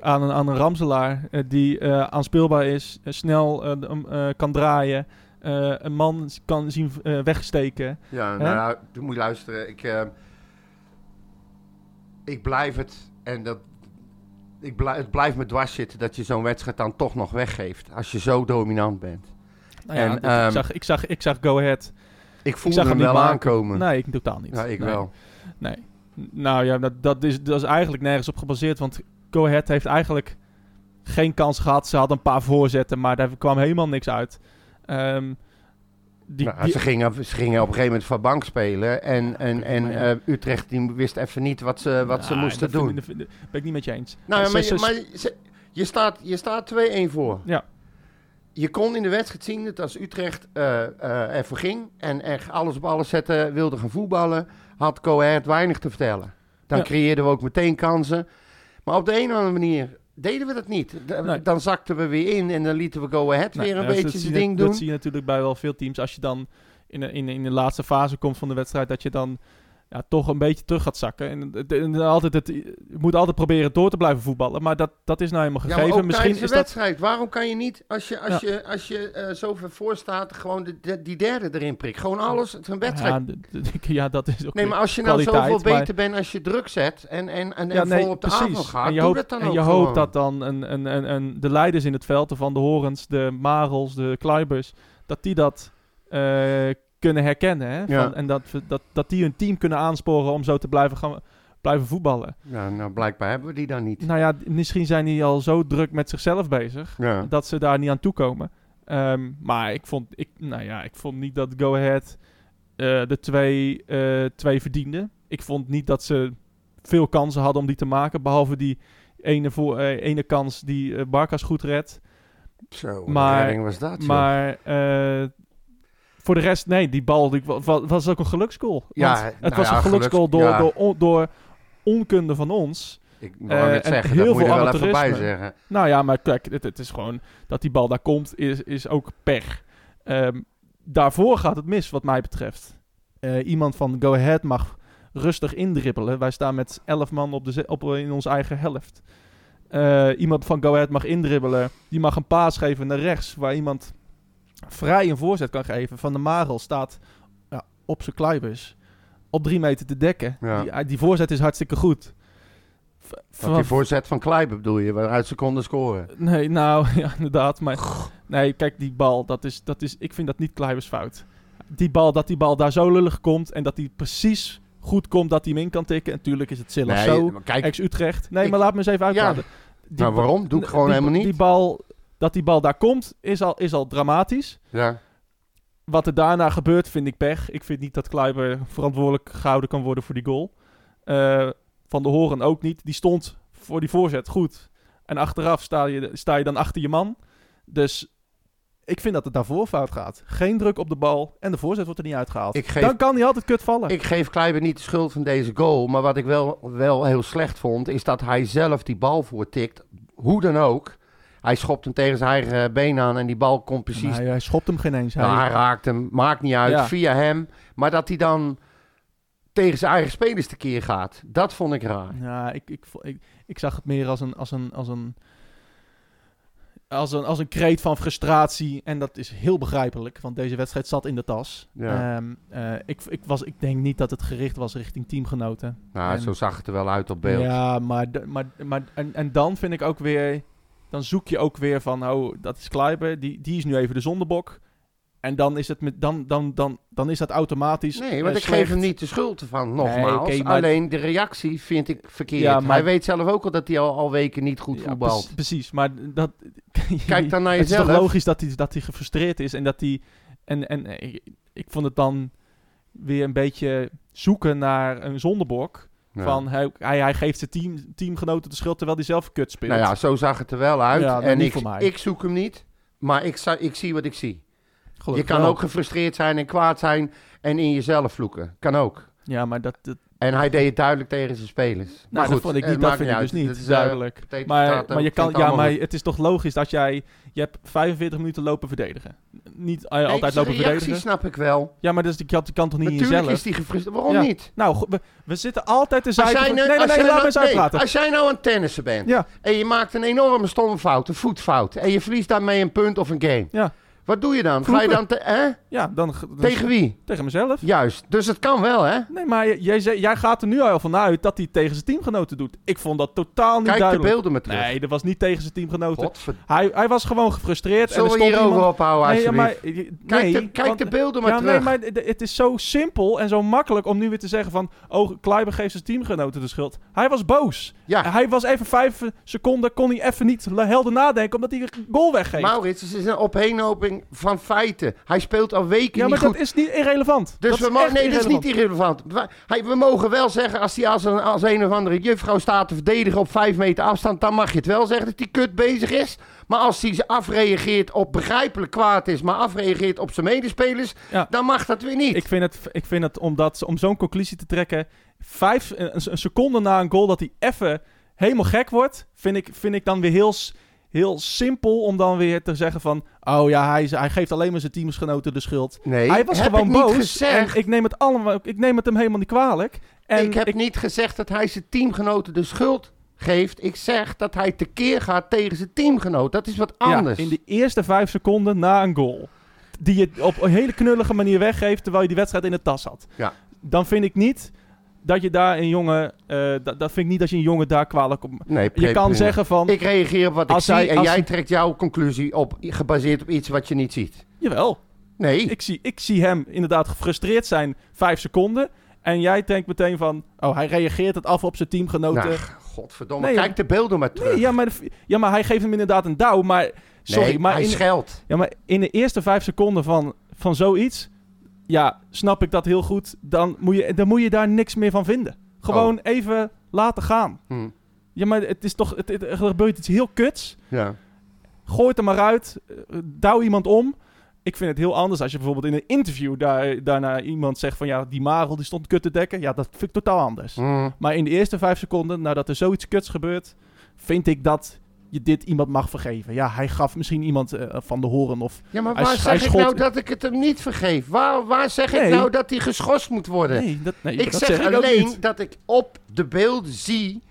aan een, aan een Ramselaar eh, die eh, aanspeelbaar is, eh, snel eh, de- hem, eh, kan draaien, eh, een man kan zien eh, wegsteken. Ja, Hè? nou, ja, je moet luisteren. Ik, eh, ik blijf het en dat. Ik blijf, het blijft me dwars zitten dat je zo'n wedstrijd dan toch nog weggeeft. Als je zo dominant bent. Nou ja, En, dat- ehm, ik, zag, ik, zag, ik zag Go Ahead Ik zag voelde hem hem niet wel maken. aankomen. Nee, ik totaal niet. ja, ik Nee. wel. Nee. N- Nou ja, dat, dat, is, dat is eigenlijk nergens op gebaseerd. Want Go Ahead heeft eigenlijk geen kans gehad. Ze hadden een paar voorzetten, maar daar kwam helemaal niks uit. Ehm, die, Nou, die- ze, gingen, ze gingen op een gegeven moment van bank spelen. En, en, en Ja. eh, Utrecht die wist even niet wat ze, wat ze Nou, moesten dat vind- doen. dat vind- dat ben ik niet met je eens. Nou ja, Ze- maar, ze- je, maar je- je staat, je staat 2-1 voor. Ja. Je kon in de wedstrijd zien dat als Utrecht eh, eh, ervoor ging en echt alles op alles zette, wilde gaan voetballen, had Coert weinig te vertellen. Dan Ja. creëerden we ook meteen kansen. Maar op de een of andere manier deden we dat niet. D- Nee. Dan zakten we weer in en dan lieten we Go Ahead Nou, weer een ja, dat beetje zie zijn je- ding dat doen. zie je natuurlijk bij wel veel teams. Als je dan in de, in de, in de laatste fase komt van de wedstrijd, dat je dan ja, toch een beetje terug gaat zakken. En, het- en altijd het, je moet altijd proberen door te blijven voetballen. Maar dat, dat is nou helemaal Ja, gegeven. maar ook Misschien is tijdens de dat. wedstrijd. Waarom kan je niet, als je, als Ja. je, als je eh, zo ver voor staat, gewoon de, de- die derde erin prikt? Gewoon alles, het is een wedstrijd. Ja, d- d- ja, dat is ook Nee, weer- maar als je nou kwaliteit, zoveel beter maar- bent als je druk zet en, en, en, Ja, en vol op de aanval gaat, en je doe hoopt, dat dan en ook je gewoon. hoopt dat dan een, een, een, een, de leiders in het veld, de Van de Horens, de Marels, de Kluibers, dat die dat eh, kunnen herkennen. Hè? Ja. Van- en dat, we- dat, dat die hun team kunnen aansporen om zo te blijven, gaan, blijven voetballen. Ja, nou, blijkbaar hebben we die dan niet. Nou ja, d- misschien zijn die al zo druk met zichzelf bezig Ja. dat ze daar niet aan toekomen. Ehm maar ik vond, ik, nou ja, ik vond niet dat Go Ahead eh, de twee, eh, twee verdiende. Ik vond niet dat ze veel kansen hadden om die te maken. Behalve die ene, voor, eh, ene kans die eh, Barkas goed redt. Zo, wat Maar- een redding was dat, joh. Maar eh, voor de rest, nee, die bal die, wa- wa- was ook een geluksgoal. Ja, Want het nou was ja, een geluksgoal geluks- door, ja. door, on- door onkunde van ons. Ik eh, wou net en zeggen, heel dat moet je veel er wel even bij amateurisme. zeggen. Nou ja, maar kijk, het, het is gewoon dat die bal daar komt, is, is ook pech. Ehm, daarvoor gaat het mis, wat mij betreft. Eh, iemand van Go Ahead mag rustig indribbelen. Wij staan met 11 man op de ze- op, in onze eigen helft. Eh, iemand van Go Ahead mag indribbelen. Die mag een paas geven naar rechts, waar iemand vrij een voorzet kan geven. Van de Marel staat ja, op zijn kluibers op drie meter te dekken. Ja. Die, die voorzet is hartstikke goed. V- Want die van- voorzet van Kleiber bedoel je, waaruit ze konden scoren. Nee, nou ja, inderdaad. Maar nee, kijk, die bal, dat is, dat is, ik vind dat niet Kluivers fout. Die bal, dat die bal daar zo lullig komt en dat die precies goed komt dat hij hem in kan tikken. En tuurlijk is het Silla Nee, zo, maar kijk, ex-Utrecht. Nee, ik- maar laat me eens even uitpraten. Die nou ba- waarom? Doe ik gewoon die- helemaal Die niet. bal, dat die bal daar komt, is al, is al dramatisch. Ja. Wat er daarna gebeurt, vind ik pech. Ik vind niet dat Kluiber verantwoordelijk gehouden kan worden voor die goal. Eh, van de Horen ook niet. Die stond voor die voorzet goed. En achteraf sta je, sta je dan achter je man. Dus ik vind dat het daarvoor fout gaat. Geen druk op de bal en de voorzet wordt er niet uitgehaald. Ik geef- Dan kan hij altijd kut vallen. Ik geef Kleiber niet de schuld van deze goal. Maar wat ik wel, wel heel slecht vond, is dat hij zelf die bal voortikt. Hoe dan ook. Hij schopt hem tegen zijn eigen eh, been aan en die bal komt precies Maar hij, hij schopt hem geen eens. Hij- Ja, Nou, hij raakt hem, maakt niet uit, Ja. via hem. Maar dat hij dan tegen zijn eigen spelers tekeer gaat, dat vond ik raar. Ja, ik, ik, vo- ik, ik zag het meer als een, als, een, als, een, als, een, als een kreet van frustratie. En dat is heel begrijpelijk, want deze wedstrijd zat in de tas. Ja. Ehm, eh, ik, ik, was, ik denk niet dat het gericht was richting teamgenoten. Nou, En- zo zag het er wel uit op beeld. Ja, maar, d- maar, maar en, en dan vind ik ook weer... Dan zoek je ook weer van, oh, dat is Kleiber. Die, die is nu even de zondebok. En dan is, het met, dan, dan, dan, dan is dat automatisch. Nee, want eh, ik geef slecht. hem niet de schuld van, nogmaals. oké, maar- Alleen de reactie vind ik verkeerd. Ja, maar- Hij weet zelf ook al dat hij al, al weken niet goed Ja, voetbalt. pre- precies, maar dat. Kijk dan naar Het is toch jezelf. logisch dat hij, dat hij gefrustreerd is en dat hij. En, en eh, ik, ik vond het dan weer een beetje zoeken naar een zondebok. Ja. Van hij, hij, hij geeft zijn team, teamgenoten de schuld terwijl hij zelf kut speelt. Nou ja, zo zag het er wel uit. Ja, nou, en niet ik, voor mij. ik zoek hem niet, maar ik, za- ik zie wat ik zie. je Gelukkig kan wel. ook gefrustreerd zijn en kwaad zijn en in jezelf vloeken. Kan ook. Ja, maar dat. dat En hij deed het duidelijk tegen zijn spelers. Maar nou, goed, dat vond ik eh, niet. Dat maakt vind ik dus uit. niet. Dat is, eh, duidelijk. potato, Maar, potato, maar, je ik vind kan, het ja, allemaal maar goed. het is toch logisch dat jij... Je hebt 45 minuten lopen verdedigen. Niet eh, Nee, altijd zijn lopen reactie verdedigen. snap ik wel. Ja, maar dat is, die kant- die kan toch niet Natuurlijk in jezelf? is die gefrustreerd. Waarom Ja. niet? Nou, go- we, we zitten altijd te Als zeiken... jij, van- nu- Nee, nee, nee, als jij laat nou- me eens nee, uitpraten. als jij nou aan het tennissen bent Ja, en je maakt een enorme stomme fout, een voetfout, en je verliest daarmee een punt of een game. Ja. Wat doe je dan? Ga je dan te- hè? ja dan, ge- dan- tegen wie? tegen mezelf. Juist. Dus het kan wel, hè? Nee, maar j- jij, zei- jij gaat er nu al van uit dat hij het tegen zijn teamgenoten doet. Ik vond dat totaal niet Kijk de duidelijk. beelden maar terug. nee, dat was niet tegen zijn teamgenoten. Godverdomme. Hij, hij was gewoon gefrustreerd. en Zullen er we stond hierover iemand... ophouden, Nee, ja, alsjeblieft? maar, nee, Kijk, de, kijk want- de beelden maar Ja, terug. nee, maar d- d- het is zo simpel en zo makkelijk om nu weer te zeggen van... Oh, Kleiber geeft zijn teamgenoten de schuld. Hij was boos. ja, Hij was even vijf eh, seconden, kon hij even niet le- helder nadenken... omdat hij een goal weggeeft. Maurits, het is een opeenhoping van feiten. Hij speelt al weken ja, niet maar goed. dat is niet irrelevant. Dus dat we is mogen, echt nee, dat is irrelevant. niet irrelevant. Wa- hij- We mogen wel zeggen, als hij als een, als een of andere juffrouw staat te verdedigen op vijf meter afstand, dan mag je het wel zeggen dat hij kut bezig is. Maar als hij ze afreageert op begrijpelijk kwaad is, maar afreageert op zijn medespelers, Ja. dan mag dat weer niet. Ik vind het, ik vind het omdat, ze- om zo'n conclusie te trekken... Vijf, een, een seconde na een goal dat hij even helemaal gek wordt... vind ik, vind ik dan weer heel, s- heel simpel om dan weer te zeggen van... Oh ja, hij, is- hij geeft alleen maar zijn teamgenoten de schuld. nee, hij was heb gewoon ik boos. Niet gezegd, En ik neem het allemaal, ik neem het hem helemaal niet kwalijk. En ik heb niet gezegd dat hij zijn teamgenoten de schuld geeft. Ik zeg dat hij tekeer gaat tegen zijn teamgenoot. Dat is wat ja, anders. in de eerste vijf seconden na een goal. Die je op een hele knullige manier weggeeft terwijl je die wedstrijd in de tas had. Ja. Dan vind ik niet dat je daar een jongen. eh, dat, dat vind ik niet dat je een jongen daar kwalijk op. nee, Je kan prima. zeggen van. Ik reageer op wat ik Als zie hij- en als jij hij- trekt jouw conclusie op, gebaseerd op iets wat je niet ziet. Jawel, Nee, ik zie, ik zie hem inderdaad gefrustreerd zijn vijf seconden. En jij denkt meteen van. Oh, hij reageert het af op zijn teamgenoten. Nou, godverdomme, eh. Nee, kijk de beelden maar terug. nee, ja, maar, de- ja, maar hij geeft hem inderdaad een douw. Maar. Sorry, Nee, maar hij in- scheldt. Ja, maar in de eerste vijf seconden van, van zoiets, ja, snap ik dat heel goed. Dan moet je, dan moet je daar niks meer van vinden. Gewoon even laten gaan. Hm, Ja, maar het is toch, het, het- er gebeurt iets heel kuts. ja. Gooi het er maar uit. eh, Douw iemand om. Ik vind het heel anders als je bijvoorbeeld in een interview daar, daarna iemand zegt van ja, die Marel die stond kut te dekken. Ja, dat vind ik totaal anders. Hm, Maar in de eerste vijf seconden, nadat er zoiets kuts gebeurt, vind ik dat je dit iemand mag vergeven. Ja, hij gaf misschien iemand eh, van de horen of ja, maar Hij- waar hij zeg ik schot- nou dat ik het hem niet vergeef? Waar, waar zeg ik Nee. nou dat hij geschorst moet worden? Nee, dat, nee, ik dat zeg, ik ook alleen niet. dat ik op de beelden zie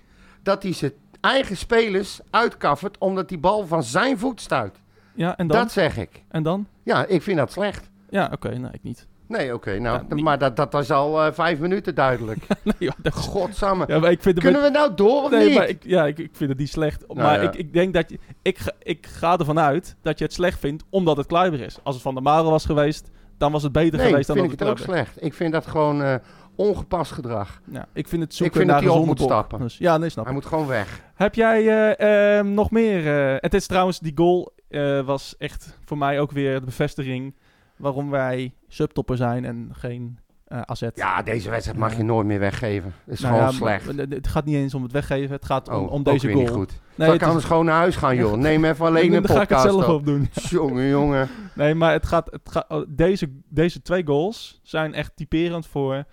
dat hij zijn eigen spelers uitkaffert omdat die bal van zijn voet stuit. Ja, en dan? Dat zeg ik. En dan? Ja, ik vind dat slecht. Ja, oké, nee, ik niet. Nee, oké, nou, Nou, niet- maar dat, dat was al eh, vijf minuten duidelijk. nee, ja, dat is- Godsamme. ja, maar ik vind het... Kunnen we nou door of nee, niet? Nou maar ik, ja, ik, ik vind het niet slecht. maar ja. ik, ik denk dat je... Ik, ga- ik ga ervan uit dat je het slecht vindt omdat het Kluiber is. Als het Van der Marel was geweest, dan was het beter nee, geweest dan vind ik dat het ook slecht. Ik vind dat gewoon eh, ongepast gedrag. slecht. Ja, ik vind het zoeken vind dat naar hij een op moet zondebok. stappen. Dus, ja, nee, snap Hij ik. moet gewoon weg. Heb jij eh, ehm, nog meer... eh, het is trouwens, die goal eh, was echt voor mij ook weer de bevestiging waarom wij subtopper zijn en geen eh AZ. Ja, deze wedstrijd mag je nooit meer weggeven. Is Nou gewoon ja, slecht. maar- maar Het gaat niet eens om het weggeven, het gaat om, Oh, om ook deze weer goal. niet goed. Nee, Dan het kan is- eens gewoon naar huis gaan, joh. Neem even alleen een dan ga ik het podcast zelf op. opdoen. Jongen, jongen. Nee, maar het gaat, het gaat, oh, deze, deze twee goals zijn echt typerend voor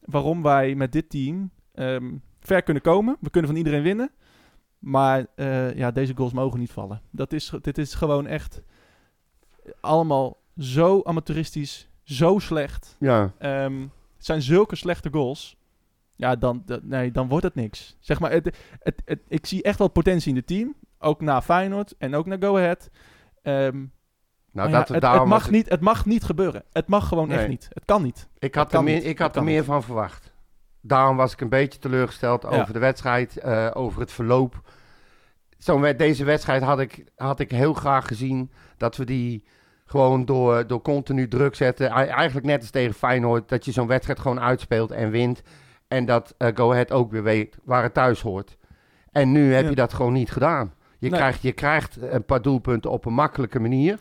waarom wij met dit team ehm, ver kunnen komen. We kunnen van iedereen winnen. Maar eh, ja, deze goals mogen niet vallen. Dat is, ge- dit is gewoon echt allemaal zo amateuristisch, zo slecht. Ja. Nou, Ehm, het zijn zulke slechte goals. Ja, dan, dat- nee, dan wordt het niks. Zeg maar, het, het, het- ik zie echt wel potentie in het team. Ook na Feyenoord en ook naar Go Ahead. Ehm, Nou, maar dat, ja, het, daarom het mag was- niet, het mag niet gebeuren. Het mag gewoon Nee. echt niet. Het kan niet. Ik het had er kan meer, niet, ik het had er kan meer van verwacht. Daarom was ik een beetje teleurgesteld Ja. over de wedstrijd, eh, over het verloop. Zo'n wed- deze wedstrijd had ik, had ik heel graag gezien dat we die Gewoon door, door continu druk zetten. Ei- Eigenlijk net als tegen Feyenoord, dat je zo'n wedstrijd gewoon uitspeelt en wint. En dat eh, Go Ahead ook weer weet waar het thuis hoort. En nu heb Ja. je dat gewoon niet gedaan. Je, Nee. krijgt, je krijgt een paar doelpunten op een makkelijke manier.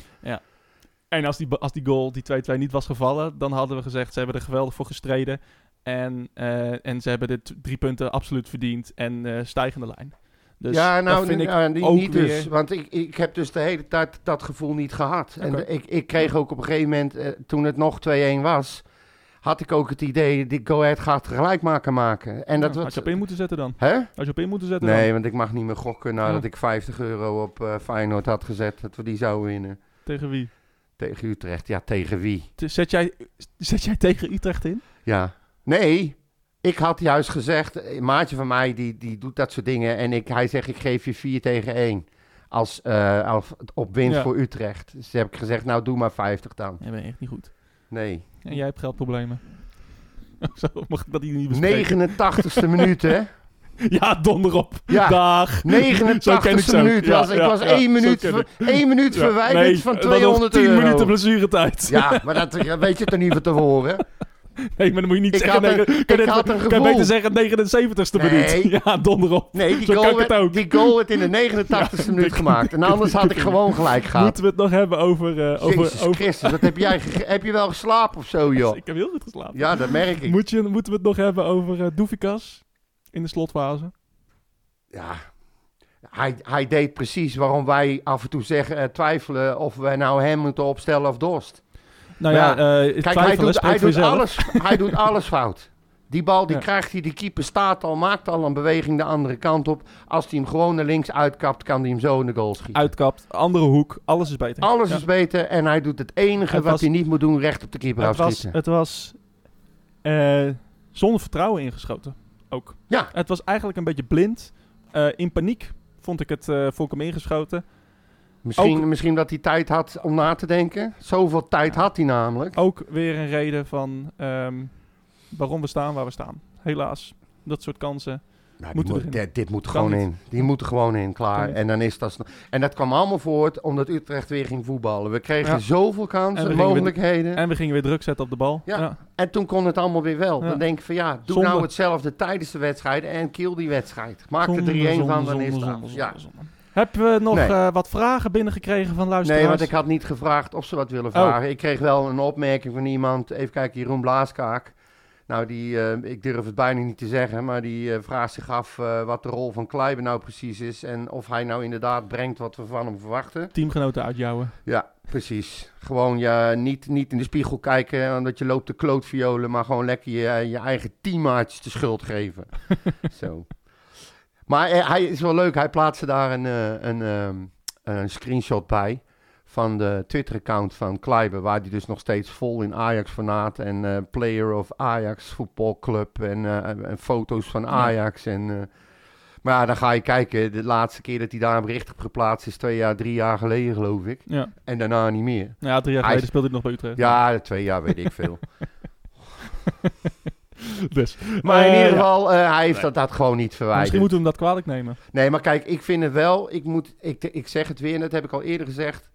En als die, als die goal, die 2-2, niet was gevallen, dan hadden we gezegd, ze hebben er geweldig voor gestreden. En, eh, en ze hebben de t- drie punten absoluut verdiend en eh stijgende lijn. Dus ja, nou, dat vind ik nou, die- ook niet weer- dus. Want ik, ik heb dus de hele tijd dat gevoel niet gehad. En Oké. de- ik, ik kreeg ook op een gegeven moment, eh, toen het nog 2-1 was, had ik ook het idee, die Go Ahead gaat gelijkmaker maken. En dat Ja, was... had je op in moeten zetten dan. Hè? Had je op in moeten zetten Nee, dan. want ik mag niet meer gokken nadat Ja. ik 50 euro op eh, Feyenoord had gezet. Dat we die zouden winnen. Tegen wie? Tegen Utrecht. Ja, tegen wie? T- Zet jij, zet jij tegen Utrecht in? Ja. Nee, ik had juist gezegd, een maatje van mij die, die doet dat soort dingen. En ik, hij zegt, ik geef je 4 tegen 1. Als, eh, als op winst Ja. voor Utrecht. Dus heb ik gezegd, nou doe maar 50 dan. Nee, ben je echt niet goed. Nee. En jij hebt geldproblemen. Zo mag ik dat hier niet bespreken. 89ste minuut, hè? Ja, donder op. Ja. Dag. Zo ken ik 89ste zo. minuut. Ja, was, ik ja, was ja, 1 zo minuut, ken ver- ik. één minuut Ja, verwijderd nee, van en dan nog 200 10 euro. minuten blessuretijd. Ja, maar dat dat weet je toch niet van tevoren? Nee, maar dan moet je niet Ik zeggen... had een- negen- ik kan je net- had een Kan gevoel. je beter zeggen 79ste Nee. minuut. Ja, donder op. Nee, die Zo kan goal, ik het werd, ook. die goal werd in de 89 e minuut gemaakt. En anders had ik gewoon gelijk gehad. Moeten we het nog hebben over... eh, Jezus over, over Christus, wat heb, jij gege- heb je wel geslapen of zo, joh? Ik heb heel goed geslapen. Ja, dat merk ik. Moet je, moeten we het nog hebben over eh Doefikas in de slotfase? Ja. Hij, hij deed precies waarom wij af en toe zeggen, eh, twijfelen of wij nou hem moeten opstellen of Dorst. Nou ja, Ja. eh het Kijk, twijfelen hij doet, spreekt hij, voor doet jezelf. alles, hij doet alles fout. Die bal die Ja. krijgt hij, die keeper staat al, maakt al een beweging de andere kant op. Als hij hem gewoon naar links uitkapt, kan hij hem zo in de goal schieten. Uitkapt, andere hoek, alles is beter. Alles Ja. is beter en hij doet het enige Het wat was- hij niet moet doen, recht op de keeper Het was, afschieten. het was eh, zonder vertrouwen ingeschoten. Ook. Ja. Het was eigenlijk een beetje blind. Eh, in paniek vond ik het eh vond ik hem ingeschoten. Misschien, Ook- misschien dat hij tijd had om na te denken. Zoveel tijd had hij namelijk. Ook weer een reden van ehm, waarom we staan waar we staan. Helaas. Dat soort kansen. Nou, die Moeten moet- erin. dit, dit moet er Kan gewoon niet. in. Die moet er gewoon in, Kan klaar. niet. En, dan is dat, sn- en dat kwam allemaal voort omdat Utrecht weer ging voetballen. We kregen Ja. zoveel En kansen, we gingen weer- mogelijkheden. En, En we gingen weer druk zetten op de bal. Ja. toen kon het allemaal weer wel. Ja. Dan denk ik van ja, doe Zonde. nou hetzelfde tijdens de wedstrijd en kill die wedstrijd. Maak Zonde, er 3-1 van, zonde, dan zonde, is het zonde, af. zonde, ja. zonde. Hebben we nog Nee. eh, wat vragen binnengekregen van luisteraars? Nee, want ik had niet gevraagd of ze wat willen vragen. Ik kreeg wel een opmerking van iemand. Even kijken, Jeroen Blaaskaak. Nou, die, eh, ik durf het bijna niet te zeggen, maar die eh, vraagt zich af eh, wat de rol van Kleiber nou precies is. En of hij nou inderdaad brengt wat we van hem verwachten. Teamgenoten uitjouwen. Ja, precies. Gewoon ja, niet, niet in de spiegel kijken omdat je loopt te klootviolen, maar gewoon lekker je, je eigen teammaatjes de schuld geven. Zo. Maar eh, hij is wel leuk. Hij plaatste daar een, eh, een, ehm, een screenshot bij van de Twitter-account van Kleiber, waar die dus nog steeds vol in Ajax-fanaat en eh, player of Ajax voetbalclub en, eh, en- en foto's van Ajax en... eh, maar ja, dan ga je kijken. De laatste keer dat hij daar een bericht op geplaatst is, twee jaar, drie jaar geleden geloof ik. Ja. En daarna niet meer. Nou ja, drie jaar Hij is- geleden speelde ik nog bij Utrecht. Ja, twee jaar weet ik veel. Dus. Maar in Eh, ieder ja. geval, eh, hij heeft dat, dat gewoon niet Misschien verwijderd. moeten we hem dat kwalijk nemen. Nee, maar kijk, ik vind het wel. Ik, moet, ik, ik zeg het weer, en dat heb ik al eerder gezegd.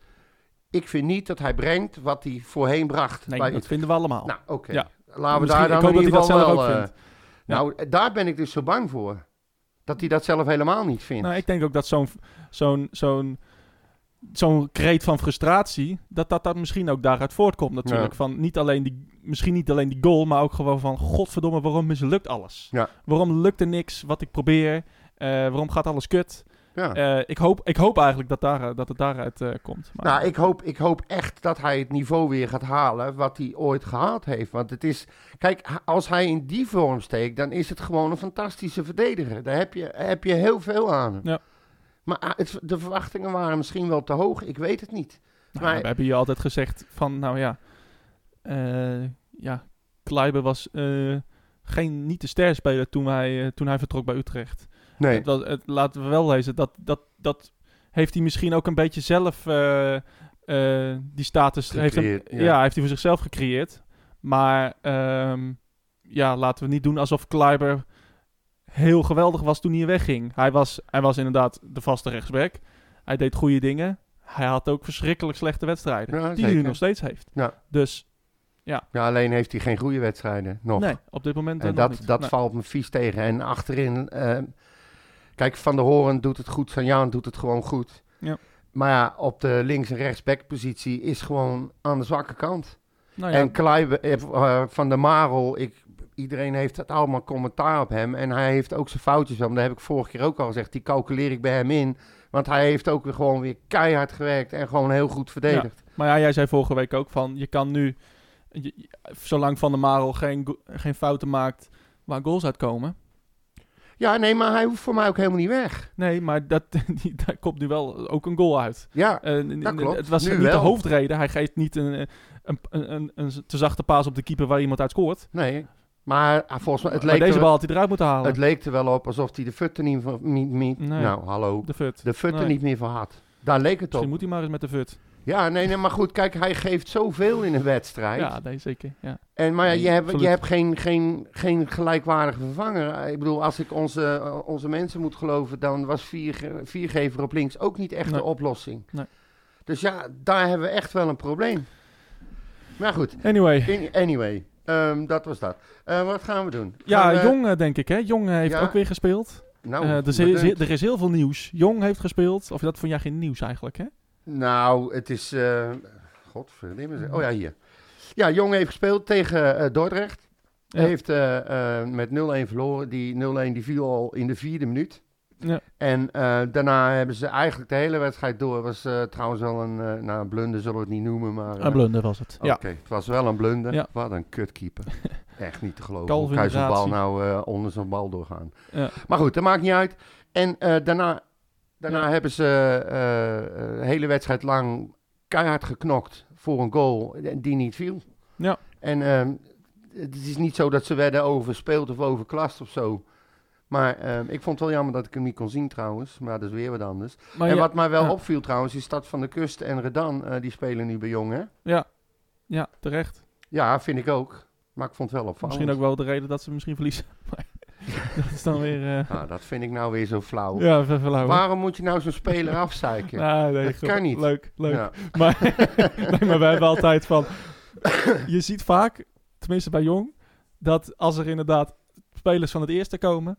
Ik vind niet dat hij brengt wat hij voorheen bracht. Nee, bij dat Utrecht. vinden we allemaal. Nou, oké. Ja. Laten we Misschien- daar ik dan hoop in dat hij ieder dat geval zelf wel... ook eh, vindt. Ja. Nou, daar ben ik dus zo bang voor. Dat hij dat zelf helemaal niet vindt. Nou, ik denk ook dat zo'n zo'n zo'n zo'n kreet van frustratie, dat, dat dat misschien ook daaruit voortkomt natuurlijk. Ja. Van niet alleen die, misschien niet alleen die goal, maar ook gewoon van godverdomme, waarom mislukt alles? Ja. Waarom lukt er niks wat ik probeer? Eh, waarom gaat alles kut? ja. Eh, ik, hoop, ik hoop eigenlijk dat, daar, dat het daaruit eh, komt. Maar, Nou, ik hoop, ik hoop echt dat hij het niveau weer gaat halen wat hij ooit gehaald heeft. Want het is, kijk, h- als hij in die vorm steekt, dan is het gewoon een fantastische verdediger. Daar heb je, heb je heel veel aan. Ja. Maar ah, het, de verwachtingen waren misschien wel te hoog, ik weet het niet. Nou, maar- we hebben je altijd gezegd van, nou ja, eh ja, Kleiber was eh, geen, niet de sterspeler toen hij, eh, toen hij vertrok bij Utrecht. Nee, Het was- het- laten we wel lezen, dat, dat, dat heeft hij misschien ook een beetje zelf, eh, eh, die status, heeft hem, Gecreëerd, ja. ja. heeft hij voor zichzelf gecreëerd. Maar ehm, ja, laten we niet doen alsof Kleiber heel geweldig was toen hij wegging. Hij was, hij was inderdaad de vaste rechtsback. Hij deed goede dingen. hij had ook verschrikkelijk slechte wedstrijden. Ja, die hij nu zeker. nog steeds heeft. Ja. Dus Ja, alleen heeft hij geen goede wedstrijden nog. nee, op dit moment eh, en nog dat, niet. dat Nee. valt me vies tegen. En achterin, eh, kijk, Van der Horen doet het goed, Sanjaan doet het gewoon goed. Ja. Maar ja, op de links- en rechtsbackpositie is gewoon aan de zwakke kant. Nou ja, En Kluiber, eh, eh, Van der Marel, ik, iedereen heeft het allemaal commentaar op hem. En hij heeft ook zijn foutjes wel. Maar dat heb ik vorige keer ook al gezegd. Die calculeer ik bij hem in. Want hij heeft ook weer gewoon weer keihard gewerkt en gewoon heel goed verdedigd. Maar ja, jij zei vorige week ook van, je kan nu, je- je- zolang Van der Marel geen, go- geen fouten maakt waar goals uitkomen. Ja, nee, maar hij hoeft voor mij ook helemaal niet weg. Nee, maar dat, die, daar komt nu wel ook een goal uit. Ja, Eh, n- n- Dat klopt, Het was nu niet de wel. hoofdreden. Hij geeft niet een, eh, een, een, een, een te zachte paas op de keeper waar iemand uit scoort. nee. Maar ah, volgens mij, het maar leek, deze er, bal had hij eruit moeten halen. het leek er wel op alsof hij de fut er niet van... Niet, niet- Nee. Nou, hallo. de fut. De fut er Nee. niet meer van had. Daar leek het Misschien op. moet hij maar eens met de fut. Ja, nee, nee, maar goed, kijk, hij geeft zoveel in een wedstrijd. Ja, nee, zeker. Ja. En, maar ja, Nee, je hebt, absoluut. je hebt geen, geen, geen gelijkwaardige vervanger. Ik bedoel, als ik onze, eh, onze mensen moet geloven, dan was vier, viergever op links ook niet echt Nee. de oplossing. Nee. Dus ja, daar hebben we echt wel een probleem. Maar goed, Anyway. in- anyway, ehm, dat was dat. Eh, wat gaan we doen? Ja, Gaan we- Jong eh, denk ik, hè? Jong eh, heeft Ja. ook weer gespeeld. Nou, Eh, er, is, bedankt. er is heel veel nieuws. Jong heeft gespeeld. Of dat vond jij geen nieuws eigenlijk, hè? nou het is... eh Godverdomme. zeg. Oh ja, hier. Ja, Jong heeft gespeeld tegen eh, Dordrecht. Ja. Heeft eh, eh, met 0-1 verloren. Die 0-1 die viel al in de vierde minuut. Ja. En eh, daarna hebben ze eigenlijk de hele wedstrijd door. was eh, trouwens wel een, eh nou, een blunder zullen we het niet noemen, maar... eh, Aan blunder was het. Oké, het was wel een blunder. Ja. Wat een kutkeeper. Echt niet te geloven. Kalvin Hoe kan je zo'n bal Ratie. nou eh, onder zo'n bal doorgaan? Ja. Maar goed, dat maakt niet uit. En eh, daarna, daarna Ja. hebben ze eh, eh, de hele wedstrijd lang keihard geknokt voor een goal die niet viel. Ja. En ehm, het is niet zo dat ze werden overspeeld of overklast of zo. Maar ehm, ik vond het wel jammer dat ik hem niet kon zien trouwens. Maar dat is weer wat anders. Maar en ja, wat mij wel ja. opviel trouwens, is Stad van de Kust en Redan, eh, die spelen nu bij Jong, hè? ja, terecht. Ja, vind ik ook. Maar ik vond het wel opvallend. Misschien ook wel de reden dat ze misschien verliezen. Maar dat is dan weer... eh Nou, dat vind ik nou weer zo flauw. ja, even verlauwen. Waarom moet je nou zo'n speler afzeiken? Ah, nee, Dat goed. kan niet. Leuk, leuk. Ja. Maar, nee, maar wij hebben altijd van... Je ziet vaak, tenminste bij Jong, dat als er inderdaad spelers van het eerste komen,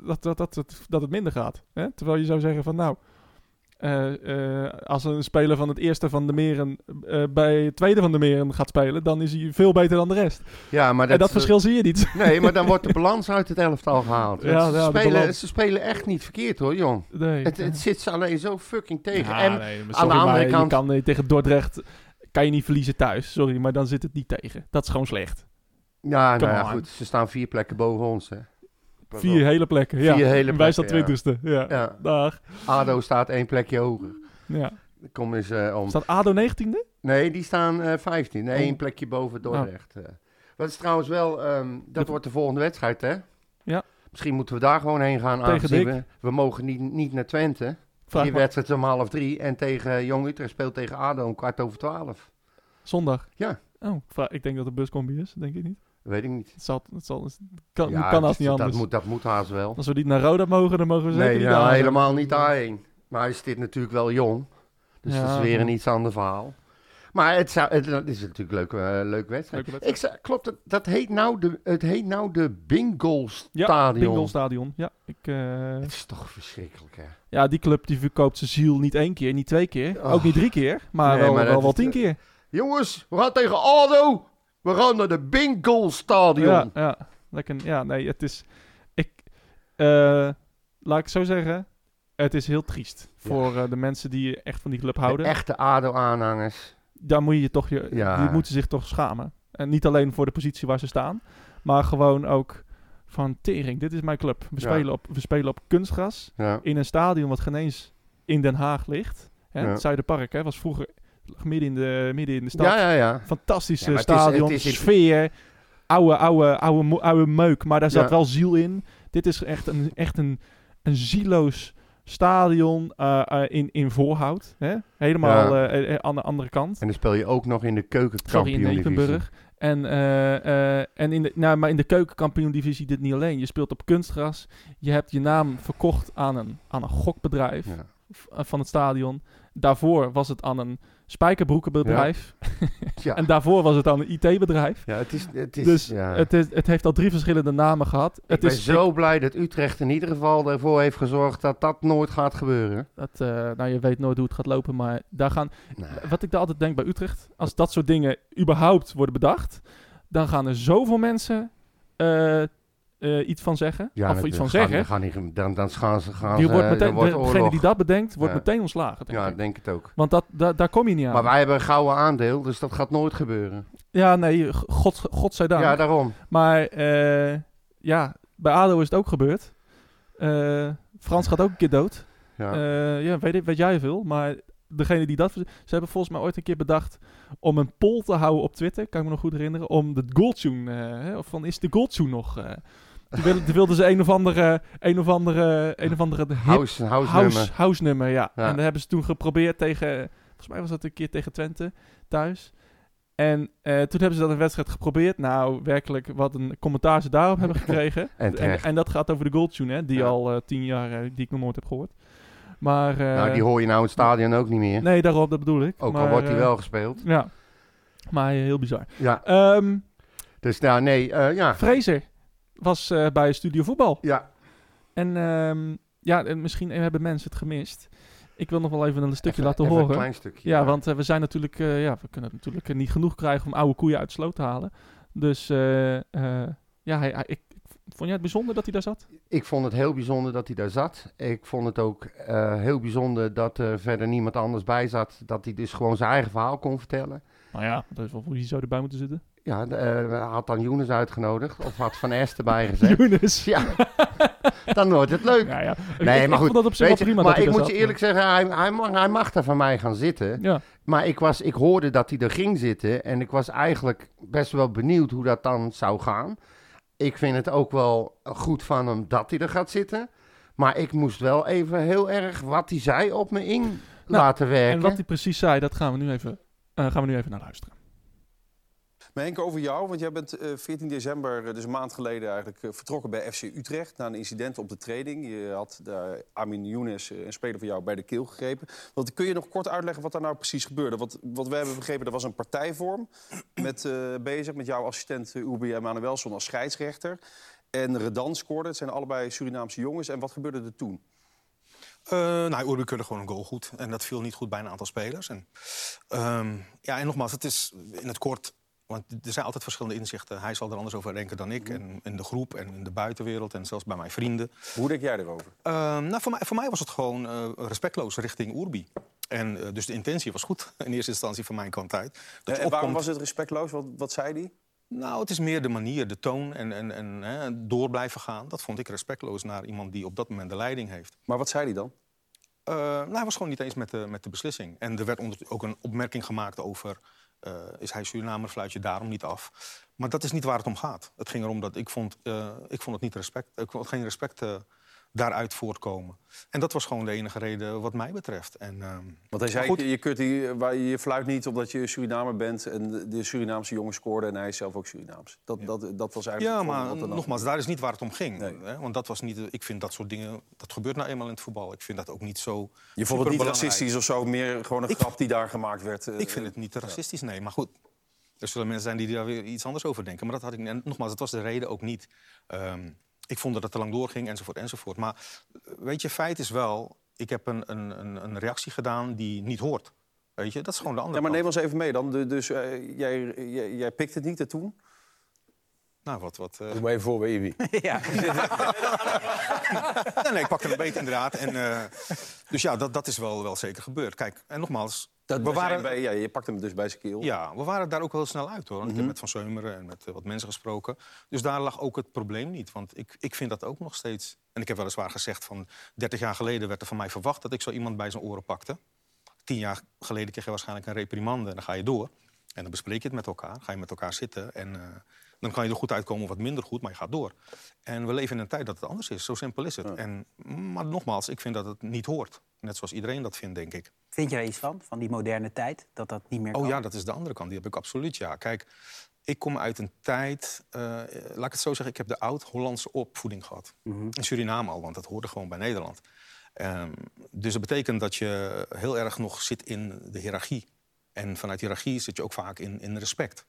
dat, dat, dat, het- dat het minder gaat. Hè? Terwijl je zou zeggen van nou, eh, eh, als een speler van het eerste van de meren eh, bij het tweede van de meren gaat spelen, dan is hij veel beter dan de rest. Ja, maar en dat eh, verschil zie je niet. Nee, maar dan wordt de balans uit het elftal gehaald. Ja, Want ze, ja, de spelen, balans. ze spelen echt niet verkeerd hoor, jong. Nee. Het, het zit ze alleen zo fucking tegen. Ja, en nee, maar aan de sorry, andere maar kant- Je kan eh, tegen Dordrecht kan je niet verliezen thuis. Sorry, maar dan zit het niet tegen. Dat is gewoon slecht. Ja, nou Come ja, on. goed. Ze staan vier plekken boven ons. Hè. Pas Vier op. hele plekken. Ja. Vier hele En wij staan plekken, twintigste. Ja. Ja. Dag. ADO staat één plekje hoger. Ja. Kom eens eh, om. Staat ADO 19e? Nee, die staan eh 15. Nee, Oh. één plekje boven Dordrecht. eh. Dat is trouwens wel... ehm, dat wordt de volgende wedstrijd, hè? Ja. Misschien moeten we daar gewoon heen gaan. Tegen aangezien Dick. we, we mogen niet, niet naar Twente. Vraag die maar. wedstrijd is om half drie. En tegen eh, Jong Utrecht speelt tegen ADO om kwart over twaalf. Zondag. Ja. Oh, ik vraag- ik denk dat de buscombi is. Denk ik niet. Weet ik niet. Het zal, het zal, het kan, Ja, dus kan als dat- niet anders. Dat moet, dat moet haast wel. Als we niet naar Roda mogen, dan mogen we zeker Nee, niet ja, naar ADO. helemaal niet daarheen. Maar is dit natuurlijk wel jong. Dus Ja. dat is weer een iets ander verhaal. Maar het, zou, het, het is natuurlijk een leuke, eh, leuke wedstrijd. Leuke wedstrijd. Ik zei, klopt, het, dat heet nou de, het heet nou de Bingo Ja, Stadion. Bingo Stadion. Ja, ik, eh, Het is toch verschrikkelijk, hè? ja, die club die verkoopt zijn ziel niet één keer, niet twee keer. Oh. Ook niet drie keer, maar Nee, wel, maar wel, dat wel is tien de- keer. Jongens, we gaan tegen ADO. We gaan naar de Bingo Stadion. Ja, ja. Lekker, ja, nee, het is... Ik, eh, laat ik het zo zeggen, het is heel triest voor eh, de mensen die echt van die club De houden. echte ADO-aanhangers. Daar moet je je toch, je, Ja. die moeten zich toch schamen. En niet alleen voor de positie waar ze staan, maar gewoon ook van tering. Dit is mijn club. We, Ja. spelen, op, we spelen op kunstgras Ja. in een stadion wat geen eens in Den Haag ligt. Hè, Ja. Het Zuiderpark hè, was vroeger midden in de, midden in de stad. ja, ja, ja. Fantastisch Ja, maar eh, het is- stadion, het is- het- sfeer, oude, oude, oude, mo- oude meuk, maar daar zat Ja. wel ziel in. Dit is echt een, echt een, een zieloos stadion eh, eh, in, in voorhout. Hè? Helemaal Ja. eh, eh, eh, aan de andere kant. En dan speel je ook nog in de Sorry, in keukenkampioen-divisie. Epenburg. En, eh, eh, en in de, nou, maar in de keukenkampioen-divisie dit niet alleen. Je speelt op kunstgras. Je hebt je naam verkocht aan een, aan een gokbedrijf. Ja. v- eh, van het stadion. Daarvoor was het aan een spijkerbroekenbedrijf. Ja, En daarvoor was het aan een IT-bedrijf. ja het is... Het is Dus ja. het, is, het heeft al drie verschillende namen gehad. ik Het ben is zo blij dat Utrecht in ieder geval ervoor heeft gezorgd dat dat nooit gaat gebeuren. Dat, eh, nou, je weet nooit hoe het gaat lopen, maar daar gaan... Nou, Wat ik daar altijd denk bij Utrecht, als dat soort dingen überhaupt worden bedacht, dan gaan er zoveel mensen eh, eh, iets van zeggen. ja, of dat- iets van dat gaan- zeggen. dat gaan niet, dan, dan gaan ze... Gaan Die ze- wordt dan meteen, eh, wordt de- oorlog. degene die dat bedenkt, wordt Ja. meteen ontslagen. Denk Ja, ik. ik denk het ook. Want dat, da- daar kom je niet aan. Maar wij hebben een gouden aandeel, dus dat gaat nooit gebeuren. Ja, nee, g- God, godzijdank. Ja, daarom. Maar eh, ja, bij ADO is het ook gebeurd. Eh, Frans gaat ook een keer dood. Ja. Eh, ja, weet, ik- weet jij veel. Maar degene die dat... Ze hebben volgens mij ooit een keer bedacht om een poll te houden op Twitter. Kan ik me nog goed herinneren. Om de goaltune... eh, hè, of van, is de goaltune nog... eh toen wilden, toen wilden ze een of andere... Een of andere... Een of andere hip house, house, nummer. house nummer, ja. Ja. En dat hebben ze toen geprobeerd tegen... Volgens mij was dat een keer tegen Twente thuis. En eh, toen hebben ze dat een wedstrijd geprobeerd. Nou, werkelijk wat een commentaar ze daarop hebben gekregen. En en, terecht. en dat gaat over de goaltune, hè. Die Ja. al eh, tien jaar, eh, die ik nog nooit heb gehoord. Maar... eh, nou, die hoor je nou in het stadion ook niet meer. Nee, daarop, dat bedoel ik. ook al Maar, wordt die eh, wel gespeeld. Ja. Maar eh, heel bizar. Ja, Ehm dus nou nee, eh, ja. Fraser was eh, bij Studio Voetbal. Ja, En ehm, ja, en misschien hebben mensen het gemist. Ik wil nog wel even een stukje even- laten even horen. een klein stukje. Ja, want eh, we zijn natuurlijk, eh, ja, we kunnen het natuurlijk eh, niet genoeg krijgen om oude koeien uit de sloot te halen. Dus eh, eh, ja, hij, hij- ik, vond jij het bijzonder dat hij daar zat? Ik vond het heel bijzonder dat hij daar zat. Ik vond het ook eh, heel bijzonder dat er verder niemand anders bij zat. Dat hij dus gewoon zijn eigen verhaal kon vertellen. Nou ja, dat is wel hoe hij zou erbij moeten zitten. Ja, de- eh, had dan Younes uitgenodigd. Of had Van Est erbij gezet. Younes. ja, dan wordt het leuk. Ja, ja. Ik- Nee, ik, maar ik goed. vond dat op zich wel Weet je, prima dat maar hij ik daar moet je zat. eerlijk zeggen, hij, hij, mag, hij mag daar van mij gaan zitten. Ja, Maar ik, was, ik hoorde dat hij er ging zitten en ik was eigenlijk best wel benieuwd hoe dat dan zou gaan. Ik vind het ook wel goed van hem dat hij er gaat zitten. Maar ik moest wel even heel erg wat hij zei op me in laten Nou, en werken. wat hij precies zei, dat gaan we nu even, eh, gaan we nu even naar luisteren. Maar Henk, over jou, want jij bent eh, 14 december, eh, dus een maand geleden eigenlijk, eh, vertrokken bij FC Utrecht na een incident op de training. Je had daar Amin Younes, eh, een speler van jou, bij de keel gegrepen. Want kun je nog kort uitleggen wat daar nou precies gebeurde? Want wat wij hebben begrepen, er was een partijvorm met, eh, bezig met jouw assistent eh, Ubi en Manuelson als scheidsrechter. En Redan scoorde, het zijn allebei Surinaamse jongens. En wat gebeurde er toen? Eh, nou, Urbi keurde gewoon een goal goed. En dat viel niet goed bij een aantal spelers. En, ehm, ja, en nogmaals, het is in het kort... Want er zijn altijd verschillende inzichten. Hij zal er anders over denken dan ik. En in de groep en in de buitenwereld en zelfs bij mijn vrienden. Hoe denk jij erover? Ehm, nou, voor, mij, voor mij was het gewoon eh, respectloos richting Urbi. En eh, dus de intentie was goed in eerste instantie van mijn kant uit. Dat je en waarom was opkomt- het respectloos? Wat, wat zei die? Nou, het is meer de manier, de toon en, en, en hè, door blijven gaan. Dat vond ik respectloos naar iemand die op dat moment de leiding heeft. Maar wat zei die dan? Eh, nou, hij was gewoon niet eens met de, met de beslissing. En er werd onder, ook een opmerking gemaakt over... eh, is hij Surinamer, fluit je daarom niet af. Maar dat is niet waar het om gaat. Het ging erom dat ik vond, eh, ik vond het niet respect... Ik vond geen respect eh, daaruit voortkomen. En dat was gewoon de enige reden wat mij betreft. En, ehm, Want hij zei, maar goed, je, je, kunt die, eh, waar- je fluit niet omdat je Surinamer bent... en de- de Surinaamse jongen scoorde en hij is zelf ook Surinaams. Dat, dat, dat was eigenlijk... Ja, het maar eh, voorbeeld wat er dan- nogmaals, daar is niet waar het om ging. Nee. Hè? Want dat was niet... Ik vind dat soort dingen... Dat gebeurt nou eenmaal in het voetbal. Ik vind dat ook niet zo Je vond het niet superbelangrijk. racistisch of zo, meer gewoon een Ik- grap die daar gemaakt werd. eh, Ik vind het niet te racistisch, nee. Maar goed, er zullen mensen zijn die daar weer iets anders over denken. Maar dat had ik niet. En nogmaals, dat was de reden ook niet. Ehm, ik vond dat het te lang doorging, enzovoort, enzovoort. Maar eh, weet je, feit is wel... Ik heb een, een, een, een reactie gedaan die niet hoort. Weet je, dat is gewoon de Ja, andere maar neem kant. ons even mee dan. De- Dus eh, jij, jij, jij pikt het niet hè, toen? Nou, wat... wat eh, Doe mij voor bij Ibi. nee, nee, ik pakte een beet inderdaad. En, eh, dus ja, dat, dat is wel, wel zeker gebeurd. Kijk, en nogmaals... we waren, bij, ja, je pakt hem dus bij zijn keel. Ja, we waren daar ook wel snel uit hoor. Want Ik heb met Van Seumeren en met eh, wat mensen gesproken. Dus daar lag ook het probleem niet. Want ik, ik vind dat ook nog steeds. En ik heb weliswaar gezegd van 30 jaar geleden werd er van mij verwacht dat ik zo iemand bij zijn oren pakte. Tien jaar geleden kreeg je waarschijnlijk een reprimande en dan ga je door. En dan bespreek je het met elkaar. Ga je met elkaar zitten en eh, dan kan je er goed uitkomen of wat minder goed, maar je gaat door. En we leven in een tijd dat het anders is. Zo simpel is het. En, maar nogmaals, ik vind dat het niet hoort. Net zoals iedereen dat vindt, denk ik. Vind je er iets van, van die moderne tijd, dat dat niet meer kan? Oh ja, dat is de andere kant. Die heb ik absoluut, ja. Kijk, ik kom uit een tijd... eh, laat Mhm. ik het zo zeggen, ik heb de oud-Hollandse opvoeding gehad. In Suriname al, want dat hoorde gewoon bij Nederland. Ehm, dus dat betekent dat je heel erg nog zit in de hiërarchie. En vanuit hiërarchie zit je ook vaak in, in respect.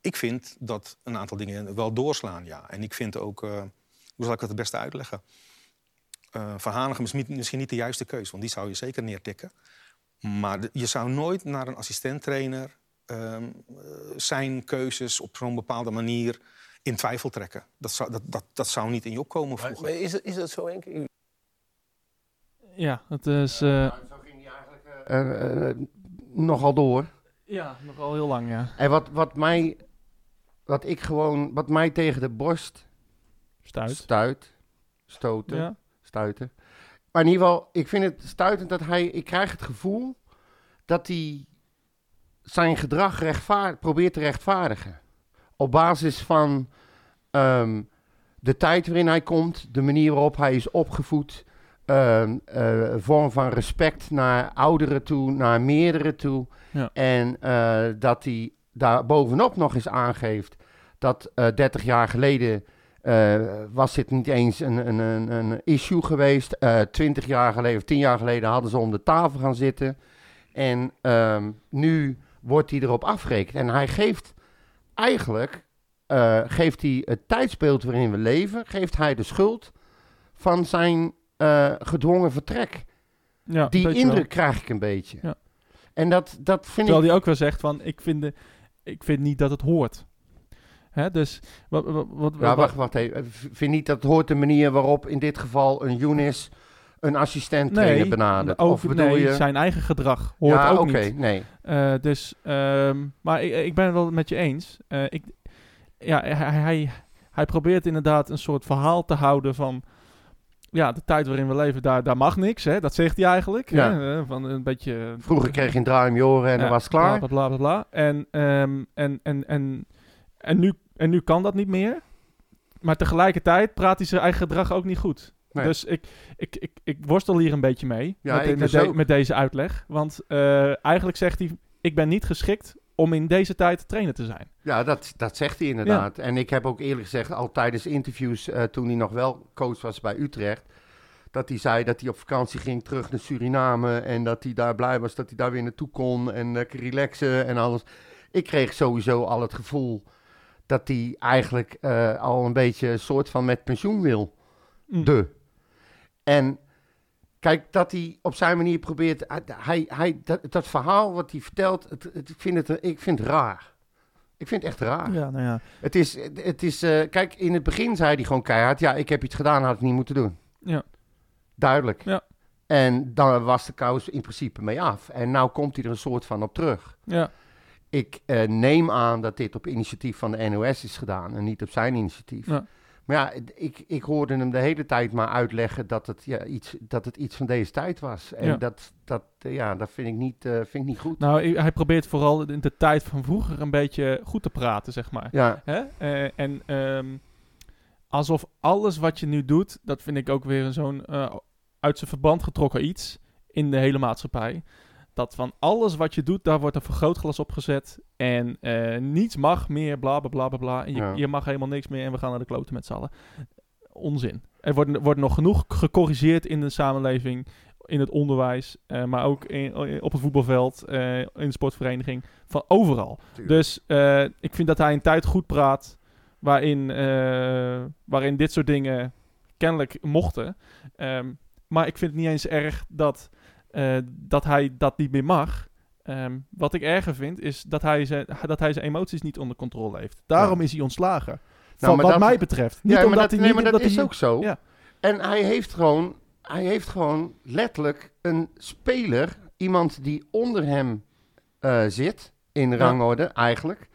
Ik vind dat een aantal dingen wel doorslaan, ja. En ik vind ook, eh, hoe zal ik het het beste uitleggen? Eh Van Hanegem is niet- misschien niet de juiste keus, want die zou je zeker neertikken. Maar de- je zou nooit naar een assistent-trainer ehm, eh, zijn keuzes op zo'n bepaalde manier in twijfel trekken. Dat zou, dat, dat, dat zou niet in je opkomen vroeger. Maar is, is dat zo, Henk? U- Ja, dat is... eh, Zo ging hij eigenlijk eh, nogal door. ja, nogal heel lang, ja. En wat, wat mij... Wat ik gewoon... Wat mij tegen de borst Stuit. stuit... Stoten. Ja. stuiten. Maar in ieder geval, ik vind het stuitend dat hij... Ik krijg het gevoel dat hij zijn gedrag rechtvaard, probeert te rechtvaardigen. Op basis van ehm, de tijd waarin hij komt, de manier waarop hij is opgevoed... ehm, eh, een vorm van respect naar ouderen toe, naar meerdere toe. Ja. En eh, dat hij daar bovenop nog eens aangeeft dat eh 30 jaar geleden eh, was dit niet eens een, een, een, een issue geweest. Eh 20 jaar geleden of 10 jaar geleden hadden ze om de tafel gaan zitten. En ehm, nu wordt hij erop afgerekend. En hij geeft eigenlijk, eh, geeft hij het tijdsbeeld waarin we leven, geeft hij de schuld van zijn eh, gedwongen vertrek. Ja, Die weet je wel. indruk krijg ik een beetje. Ja. En dat, dat vind ik... Terwijl hij ook wel zegt van, ik vind, de, ik vind niet dat het hoort. Hè, dus wat... wat, wat, Ja, wat- wacht, wacht even. V- Vind niet dat hoort de manier waarop in dit geval een Younis een assistent trainer Nee, benadert? ook- of bedoel nee, je... zijn eigen gedrag hoort ja, ook oké, niet. nee. Eh, dus, ehm, maar ik, ik ben het wel met je eens. Eh, ik, ja, hij, hij, hij probeert inderdaad een soort verhaal te houden van... Ja, de tijd waarin we leven, daar, daar mag niks. Hè? Dat zegt hij eigenlijk. Ja. Hè? eh, Van een beetje... Vroeger kreeg je een draai om je oren en Ja, dan was het klaar. Bla, bla, bla, bla, bla. En, ehm, en, en, en, en, nu, en nu kan dat niet meer. Maar tegelijkertijd praat hij zijn eigen gedrag ook niet goed. Nee. Dus ik, ik, ik, ik worstel hier een beetje mee Ja, met, ik met, dus de- ook. met deze uitleg. Want eh, eigenlijk zegt hij, ik ben niet geschikt om in deze tijd trainer te zijn. Ja, dat, dat zegt hij inderdaad. En ik heb ook eerlijk gezegd al tijdens interviews, eh, toen hij nog wel coach was bij Utrecht, dat hij zei dat hij op vakantie ging terug naar Suriname en dat hij daar blij was dat hij daar weer naartoe kon en lekker relaxen en alles. Ik kreeg sowieso al het gevoel dat hij eigenlijk eh, al een beetje een soort van met pensioen wil. Mm. De. En kijk, dat hij op zijn manier probeert. Hij, hij, dat, dat verhaal wat hij vertelt, het, het- ik, vind het, ik vind het raar. Ik vind het echt raar. Ja, nou ja. Het is, het is eh, kijk, in het begin zei hij gewoon keihard: ja, ik heb iets gedaan, had ik niet moeten doen. Ja. Duidelijk. Ja. En dan was de kous in principe mee af. En nou komt hij er een soort van op terug. Ja, Ik eh, neem aan dat dit op initiatief van de NOS is gedaan en niet op zijn initiatief. Ja. Maar ja, d- ik, ik hoorde hem de hele tijd maar uitleggen dat het, ja, iets, dat het iets van deze tijd was. En Ja. dat, dat, eh, ja, dat vind, ik niet, eh, vind ik niet goed. nou i- hij probeert vooral de, de tijd van vroeger een beetje goed te praten, zeg maar. ja, Hè? Eh, en ehm, alsof alles wat je nu doet, dat vind ik ook weer zo'n eh, uit zijn verband getrokken iets in de hele maatschappij. Dat van alles wat je doet, daar wordt een vergrootglas op gezet. En eh, niets mag meer, bla bla bla bla bla. En je, Ja. je mag helemaal niks meer en we gaan naar de kloten met z'n allen. Onzin. Er wordt, wordt nog genoeg gecorrigeerd in de samenleving, in het onderwijs, eh, maar ook in, op het voetbalveld, eh, in de sportvereniging, van overal. Dus eh, ik vind dat hij een tijd goed praat waarin, eh, waarin dit soort dingen kennelijk mochten. Ehm, maar ik vind het niet eens erg dat, eh, dat hij dat niet meer mag. Ehm, wat ik erger vind is dat hij, zijn, dat hij zijn emoties niet onder controle heeft. Daarom is hij ontslagen. Van Nou, maar wat dat- mij betreft. Niet ja, maar omdat dat, hij nee, niet, maar dat omdat is hij- ook zo. Ja. En hij heeft, gewoon, hij heeft gewoon letterlijk een speler, iemand die onder hem eh, zit, in rangorde eigenlijk,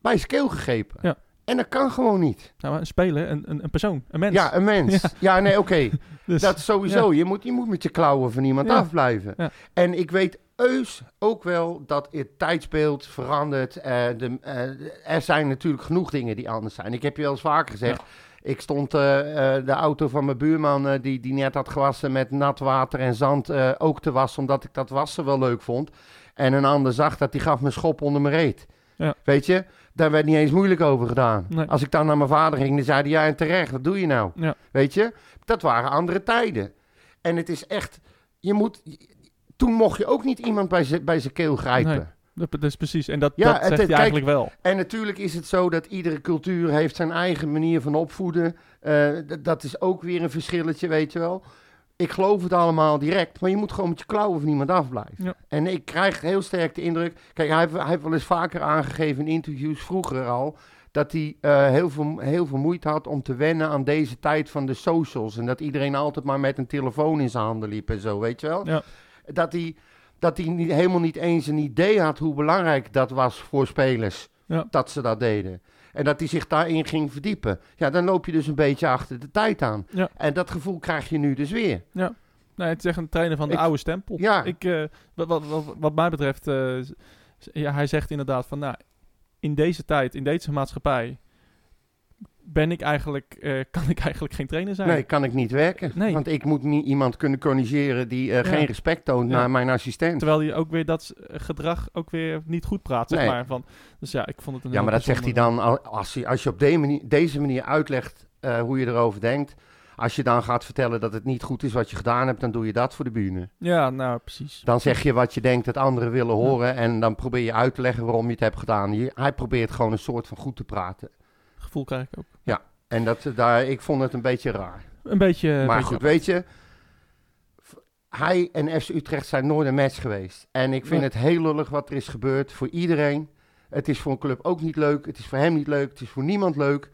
bij zijn keel gegrepen. Ja. En dat kan gewoon niet. Nou, maar een speler, een, een, een persoon, een mens. Ja, een mens. Ja, nee, oké. Dus- Dat sowieso. Je, moet, je moet met je klauwen van iemand Ja. afblijven. Ja. En ik weet heus ook wel dat het tijdsbeeld verandert. Eh, de, eh, er zijn natuurlijk genoeg dingen die anders zijn. Ik heb je wel eens vaker gezegd. Ik stond eh, eh, de auto van mijn buurman, eh, die, die net had gewassen met nat water en zand, eh, ook te wassen, omdat ik dat wassen wel leuk vond. En een ander zag dat, die gaf me een schop onder mijn reet. Ja. Weet je, daar werd niet eens moeilijk over gedaan. Nee. Als ik dan naar mijn vader ging, dan zei hij, ja en terecht, wat doe je nou? Ja. Weet je, dat waren andere tijden. En het is echt, je moet, toen mocht je ook niet iemand bij zijn bij zijn keel grijpen. Nee. Dat, dat is precies. En dat, Ja, dat het- zegt het- hij kijk, eigenlijk wel. En natuurlijk is het zo dat iedere cultuur heeft zijn eigen manier van opvoeden. Eh, d- dat is ook weer een verschilletje, weet je wel. Ik geloof het allemaal direct, maar je moet gewoon met je klauwen van iemand afblijven. Ja. En ik krijg heel sterk de indruk... Kijk, hij heeft, hij heeft wel eens vaker aangegeven in interviews vroeger al... dat hij eh, heel, veel, heel veel moeite had om te wennen aan deze tijd van de socials. En dat iedereen altijd maar met een telefoon in zijn handen liep en zo, weet je wel. Ja. Dat hij, dat hij niet, helemaal niet eens een idee had hoe belangrijk dat was voor spelers dat ze dat deden. En dat hij zich daarin ging verdiepen. Ja, dan loop je dus een beetje achter de tijd aan. Ja. En dat gevoel krijg je nu dus weer. Nee, het is echt een trainer van de Ik- oude stempel. Ja. Ik, eh, wat, wat, wat, wat mij betreft, eh, z- ja, hij zegt inderdaad van, nou, in deze tijd, in deze maatschappij, ben ik eigenlijk, eh, kan ik eigenlijk geen trainer zijn. Nee, kan ik niet werken. Nee. Want ik moet niet iemand kunnen corrigeren die eh, Ja. geen respect toont Ja. naar mijn assistent. Terwijl hij ook weer dat s- eh, gedrag ook weer niet goed praat, zeg Nee. maar. Van, dus ja, ik vond het een Ja, heel maar dat zegt hij bijzonder- dan al- als, hij, als je op de manier- deze manier uitlegt eh, hoe je erover denkt. Als je dan gaat vertellen dat het niet goed is wat je gedaan hebt, dan doe je dat voor de bühne. Ja, nou, precies. Dan zeg je wat je denkt dat anderen willen horen en dan probeer je uit te leggen waarom je het hebt gedaan. Je- hij probeert gewoon een soort van goed te praten. Gevoel krijg ik ook. En dat, eh, daar, ik vond het een beetje raar. Een beetje... een maar Eh, beetje- goed, weet je, v- hij en FC Utrecht zijn nooit een match geweest. En ik vind Nee. het heel lullig wat er is gebeurd voor iedereen. Het is voor een club ook niet leuk, het is voor hem niet leuk, het is voor niemand leuk.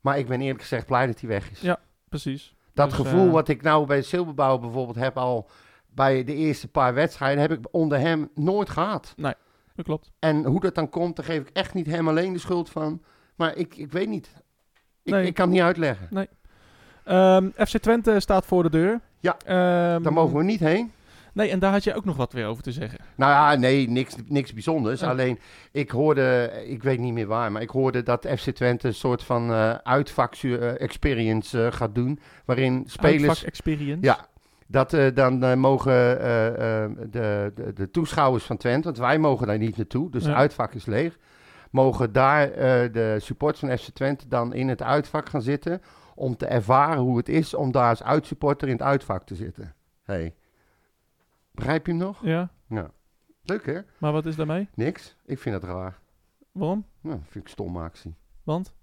Maar ik ben eerlijk gezegd blij dat hij weg is. Ja, Precies. dat dus, gevoel eh, wat ik nou bij Silberbouw bijvoorbeeld heb al bij de eerste paar wedstrijden, heb ik onder hem nooit gehad. Dat klopt. En hoe dat dan komt, daar geef ik echt niet hem alleen de schuld van. Maar ik, ik weet niet. Ik, Nee. ik kan het niet uitleggen. Ehm, FC Twente staat voor de deur. Ja, Ehm, Daar mogen we niet heen. Nee, en daar had je ook nog wat weer over te zeggen. Nou ja, nee, niks, niks bijzonders. Ja. Alleen, ik hoorde, ik weet niet meer waar, maar ik hoorde dat FC Twente een soort van eh uitvak-experience eh, gaat doen. Waarin spelers. Uitvak experience. Ja, dat eh, dan eh, mogen eh, eh, de, de, de toeschouwers van Twente, want wij mogen daar niet naartoe, dus Ja. het uitvak is leeg. Mogen daar eh, de supporters van FC Twente dan in het uitvak gaan zitten om te ervaren hoe het is om daar als uitsupporter in het uitvak te zitten. Hey. Begrijp je hem nog? Ja, Leuk hè? maar wat is daarmee? Niks. Ik vind dat raar. Waarom? Nou, vind ik een stomme actie. Want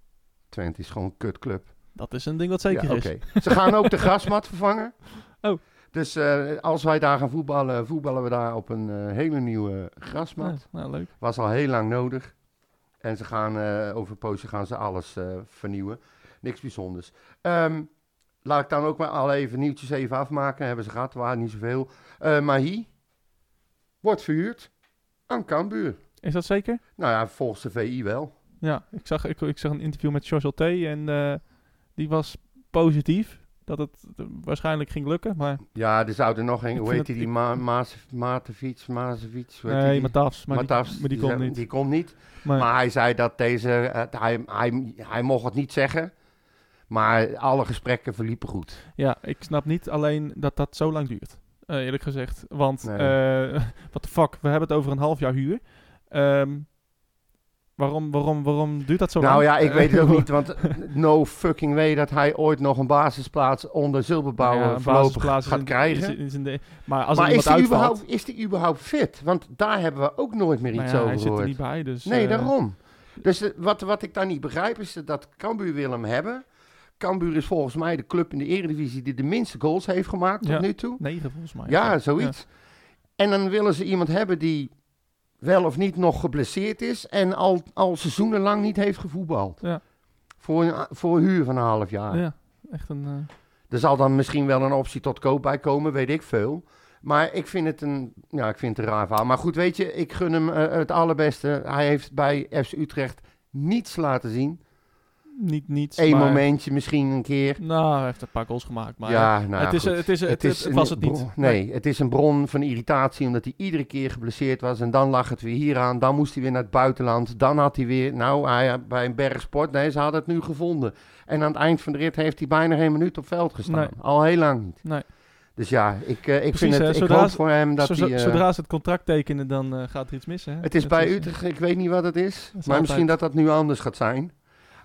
Twente is gewoon een kutclub. dat is een ding wat Ja, zeker is. oké. Ze gaan ook de grasmat vervangen. Oh. Dus eh, als wij daar gaan voetballen, voetballen we daar op een eh, hele nieuwe grasmat. Nou, nou, leuk. Was al heel lang nodig. En ze gaan eh, over een poosje gaan ze alles eh, vernieuwen. Niks bijzonders. Ehm, laat ik dan ook maar al even nieuwtjes even afmaken. Hebben ze gehad, waren niet zoveel. Eh Mahi wordt verhuurd aan Cambuur. Is dat zeker? Nou ja, volgens de VI wel. Ja, ik zag, ik, ik zag een interview met George T. en eh, die was positief dat het eh, waarschijnlijk ging lukken. Maar Ja, er zouden nog een, Ik hoe vind heet dat- die, Ma Maas- Matefiets, Mazefiets, hoe heet nee, die? Matafs. eh, Maar, Matafs, die, maar die kon zei- niet. Die kon niet. maar, Maar hij zei dat deze, eh, hij, hij, hij mocht het niet zeggen, maar alle gesprekken verliepen goed. ja, ik snap niet alleen dat dat zo lang duurt. eh, eerlijk gezegd. Want, Nee. wat de fuck, we hebben het over een half jaar huur. Ehm, waarom, waarom, waarom duurt dat zo nou lang? ja, ik Eh, weet het ook niet, want no fucking way dat hij ooit nog een basisplaats onder Zilberbouw Nou Ja, eh, een voorlopig basisplaats is gaat in- krijgen. is- is in de- maar als maar er is iemand die, uitvalt... überhaupt, is die überhaupt fit? Want daar hebben we ook nooit meer nou iets ja, over hij zit er gehoord. niet bij, dus... Nee, eh, daarom. Dus eh, wat, wat ik daar niet begrijp is dat Cambuur wil hem hebben. Cambuur is volgens mij de club in de Eredivisie die de minste goals heeft gemaakt Ja. tot nu toe. Negen volgens mij. Ja, zoiets. En dan willen ze iemand hebben die wel of niet nog geblesseerd is en al, al seizoenenlang niet heeft gevoetbald. Ja. Voor, een, voor een huur van een half jaar. Ja, echt een... eh, Er zal dan misschien wel een optie tot koop bij komen, weet ik veel. Maar ik vind het een, ja, ik vind het een raar verhaal. Maar goed, weet je, ik gun hem eh, het allerbeste. Hij heeft bij FC Utrecht niets laten zien. niet niets, Eén maar- momentje misschien een keer. Nou, hij heeft een paar goals gemaakt, maar... ja, nou, het, is, goed. het, is, het, het een was het niet. bron- nee, het is een bron van irritatie omdat hij iedere keer geblesseerd was. En dan lag het weer hier aan. Dan moest hij weer naar het buitenland. Dan had hij weer, nou, hij, bij een bergsport. Nee, ze hadden het nu gevonden. En aan het eind van de rit heeft hij bijna geen minuut op veld gestaan. Nee. Al heel lang niet. Nee. Dus ja, ik, eh, ik, vind hè, het, ik zodra hoop ze- voor hem dat Zo- zo- hij... eh, zodra ze het contract tekenen, dan eh, gaat er iets mis, hè? het is Dat bij eh, Utrecht, ik weet niet wat het is. is maar misschien altijd- dat dat nu anders gaat zijn.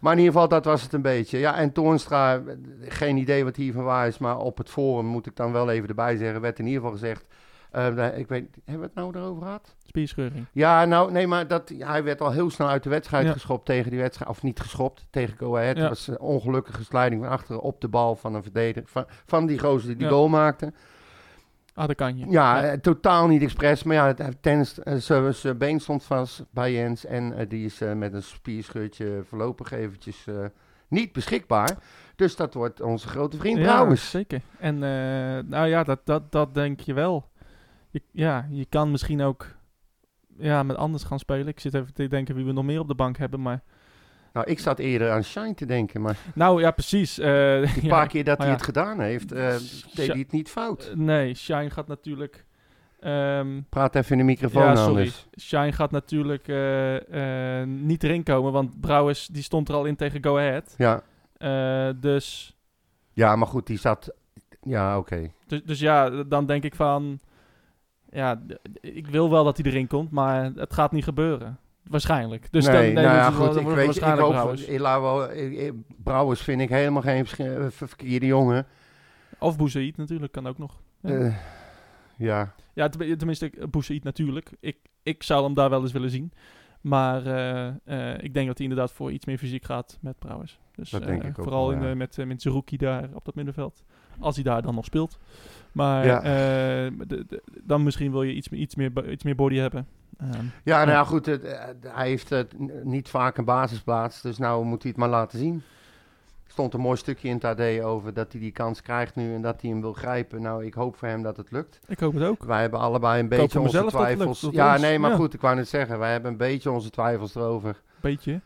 Maar in ieder geval, dat was het een beetje. Ja, en Toornstra, eh, geen idee wat hiervan waar is, maar op het forum moet ik dan wel even erbij zeggen, werd in ieder geval gezegd, eh, ik weet, hebben we het nou erover gehad? Spierscheuring. Ja, nou, nee, maar dat, hij werd al heel snel uit de wedstrijd Ja. geschopt tegen die wedstrijd. Of niet geschopt, tegen Go Ahead. Ja. Het was een ongelukkige sliding van achteren op de bal van een verdediger. Van, van die gozer die die Ja. goal maakte. Ah, dat kan je. Ja, eh, totaal niet expres. Maar ja, het- hij- Tens, eh, zijn zijn been stond vast bij Jens. En eh, die is eh, met een spierscheurtje voorlopig eventjes eh, niet beschikbaar. Dus dat wordt onze grote vriend Ja, trouwens. zeker. En eh, nou ja, dat, dat, dat denk je wel. Je, ja, je kan misschien ook ja, met anders gaan spelen. Ik zit even te denken wie we nog meer op de bank hebben. Maar... Nou, ik zat eerder aan Shine te denken. Maar Nou ja, precies. eh, die ja. paar keer dat maar hij ja. het gedaan heeft, eh, deed hij het niet fout. Eh, nee, Shine gaat natuurlijk... ehm, Praat even in de microfoon dus. ja, sorry. anders. Shine gaat natuurlijk eh, eh, niet erin komen, want Brouwers die stond er al in tegen Go Ahead. Ja. Eh, dus, Ja, maar goed, die zat. Ja, oké. dus, dus ja, dan denk ik van... Ja, d- ik wil wel dat hij erin komt, maar het gaat niet gebeuren. Waarschijnlijk. Dus dan, nee, nou ja, dus dan goed. Ik wordt het weet, ik waarschijnlijk hoop Brouwers. ik laat wel- ik- ik- Brouwers vind ik helemaal geen versch- eh, ver- verkeerde jongen. Of Boezeïd natuurlijk, kan ook nog. Ja. Eh, ja. Ja, tem- tenminste, eh, Boezeïd natuurlijk. Ik, ik zou hem daar wel eens willen zien. Maar eh, eh, ik denk dat hij inderdaad voor iets meer fysiek gaat met Brouwers. Dus Dat eh, denk ik ook vooral wel, in, ja. eh, met, eh, met Zerouki daar op dat middenveld. Als hij daar dan nog speelt. Maar Ja. eh, de- de- dan misschien wil je iets, meer- iets, meer, bo- iets meer body hebben. Ehm, ja, nou ja, goed. het- eh, hij heeft eh, n- niet vaak een basisplaats, dus nou moet hij het maar laten zien. Er stond een mooi stukje in het AD over dat hij die kans krijgt nu en dat hij hem wil grijpen. Nou, ik hoop voor hem dat het lukt. ik hoop het ook. Wij hebben allebei een hoop beetje voor onze mezelf dat het lukt, twijfels. dat Ja, ons- nee, maar ja. goed, ik wou net zeggen, wij hebben een beetje onze twijfels erover. Beetje.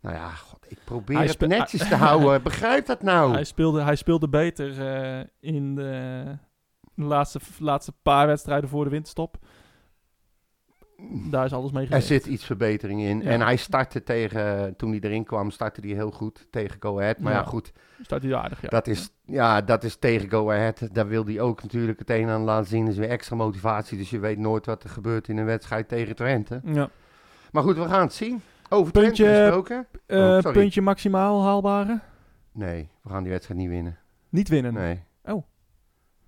Nou ja, god, ik probeer Hij het spe- netjes te houden. Begrijp dat nou? Hij, speelde, hij speelde beter eh, in de laatste, laatste paar wedstrijden voor de winterstop. Daar is alles mee Er geweest. zit iets verbetering in. Ja. En hij startte tegen, toen hij erin kwam, startte hij heel goed tegen Go Ahead. Maar ja, Ja. goed, Staat hij aardig, ja. dat is, ja, dat is tegen Go Ahead. Daar wil hij ook natuurlijk het een en ander laten zien. Dat is weer extra motivatie. Dus je weet nooit wat er gebeurt in een wedstrijd tegen Twente. ja. Maar goed, we gaan het zien. Over Puntje- Twente gesproken? Eh, Oh, sorry. puntje maximaal haalbare? Nee, we gaan die wedstrijd niet winnen. Niet winnen. Nee.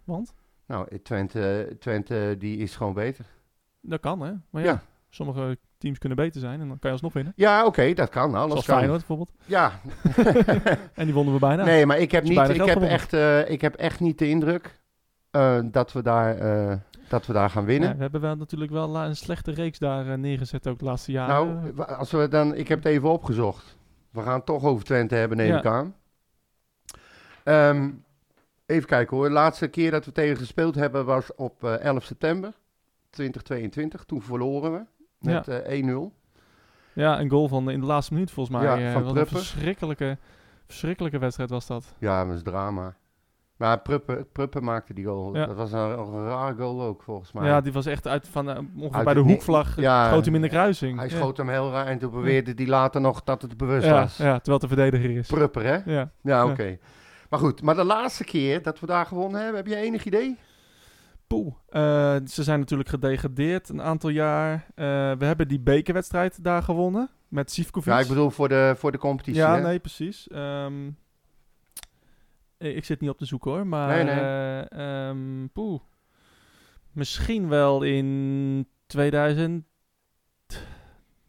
Want Nou, Twente, Twente die is gewoon beter. dat kan, hè? Maar ja, Ja. sommige teams kunnen beter zijn en dan kan je alsnog winnen. Ja, oké, dat kan. Alles Zoals kan. Feyenoord bijvoorbeeld. Ja. En die wonnen we bijna. Nee, maar ik heb, is niet, bijna ik geld heb, gewonnen. echt, eh, ik heb echt niet de indruk eh, dat, we daar, eh, dat we daar gaan winnen. Ja, we hebben wel natuurlijk wel la- een slechte reeks daar eh, neergezet ook de laatste jaren. nou, wa- als we dan, ik heb het even opgezocht. We gaan het toch over Twente hebben, neem Ja. ik aan. Ehm, even kijken hoor. De laatste keer dat we tegen gespeeld hebben was op eh, 11 september 2022. Toen verloren we met eh, 1-0. ja, een goal van eh, in de laatste minuut volgens mij. Ja, eh, van wat een Pruppen. verschrikkelijke, verschrikkelijke wedstrijd was dat. Ja, dat was drama. Maar Pruppen, Pruppen maakte die goal. Ja. Dat was een, een rare goal ook, volgens mij. Ja, die was echt uit van eh, ongeveer Uit bij de het ni- hoekvlag. eh, Ja. schoot hem in de kruising. Hij Ja. schoot hem heel raar en toen beweerde hij later nog dat het bewust ja, was. ja, terwijl het de verdediger is. Prupper, hè? Ja. Ja, oké. Maar goed, maar de laatste keer dat we daar gewonnen hebben, heb je enig idee? Poeh. Eh, ze zijn natuurlijk gedegradeerd een aantal jaar. Eh, we hebben die bekerwedstrijd daar gewonnen. Met Sivkovic. Ja, ik bedoel voor de, voor de competitie. Ja, hè? nee, precies. Ehm, ik ik zit niet op te zoeken hoor, maar... Nee, nee. eh, ehm, poeh. Misschien wel in 2000...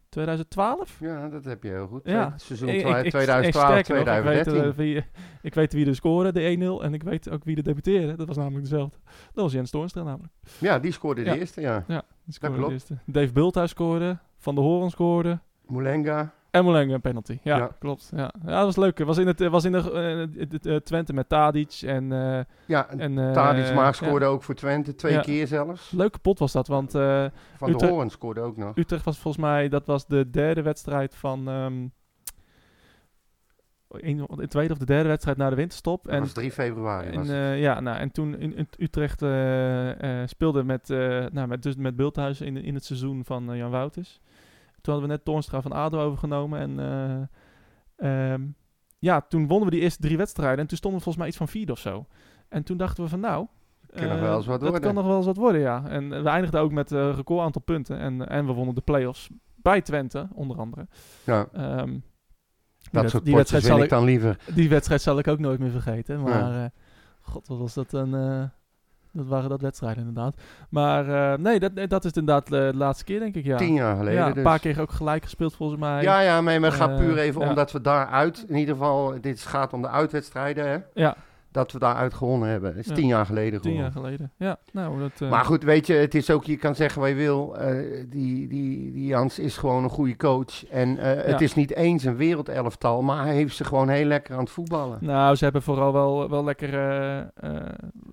2012? Ja, dat heb je heel goed. Ja. Twee- Seizoen Ik- ik- twa- ik- 2012, sterker nog, ik weet, eh, 2013. wie- ik weet wie de scoorde, de 1-0. En ik weet ook wie de debuteerde. Dat was namelijk dezelfde. Dat was Jens Toornstra namelijk. ja, die scoorde Ja. de eerste, ja. Die scoorde de klopt. eerste. Dave Bulthuis scoorde. Van de Horen scoorde. Moulenga. En Molenga een penalty. Ja, Ja. klopt. Ja. ja, dat was leuk. Het was in, het, eh, was in de, eh, het- het, eh, Twente met Tadic en... eh, Ja, en en eh, Tadic Maag ja. scoorde ook voor Twente, twee Ja. keer zelfs. Leuke pot was dat, want eh, Van de Utrecht- Hoorn scoorde ook nog. Utrecht was volgens mij, dat was de derde wedstrijd van... ehm, een- de tweede of de derde wedstrijd na de winterstop. Dat En, was 3 februari. en, was het. eh, ja, nou, en toen in, in Utrecht eh, eh, speelde met, eh nou, met, dus met Bulthuis in, in het seizoen van eh, Jan Wouters. Toen hadden we net Toornstra van ADO overgenomen. En eh, ehm, ja, toen wonnen we die eerste drie wedstrijden. En toen stonden we volgens mij iets van vierde of zo. En toen dachten we van nou... Kan nog eh, wel eens wat dat worden. kan nog wel eens wat worden, ja. En eh, we eindigden ook met een record aantal punten. En, en we wonnen de play-offs bij Twente, onder andere. ja. Ehm, Dat wed- soort die wedstrijd potjes win zal ik dan liever. Die wedstrijd zal ik ook nooit meer vergeten. Maar eh, god, wat was dat een... eh, dat waren dat wedstrijden inderdaad. Maar eh, nee, dat, nee, dat is inderdaad eh, de laatste keer, denk ik, ja. Tien jaar geleden ja, een dus. paar keer ook gelijk gespeeld volgens mij. Ja, ja, maar het gaat Eh, puur even ja. omdat we daaruit, in ieder geval, dit gaat om de uitwedstrijden, hè, Ja, dat we daaruit gewonnen hebben. Dat is Ja. tien jaar geleden tien gewoon. jaar geleden. Ja, nou, dat... eh, Maar goed, weet je, het is ook, je kan zeggen wat je wil, eh, die, die, die Jans is gewoon een goede coach. En eh, Ja. het is niet eens een wereldelftal, maar hij heeft ze gewoon heel lekker aan het voetballen. Nou, ze hebben vooral wel, wel lekker. eh, eh,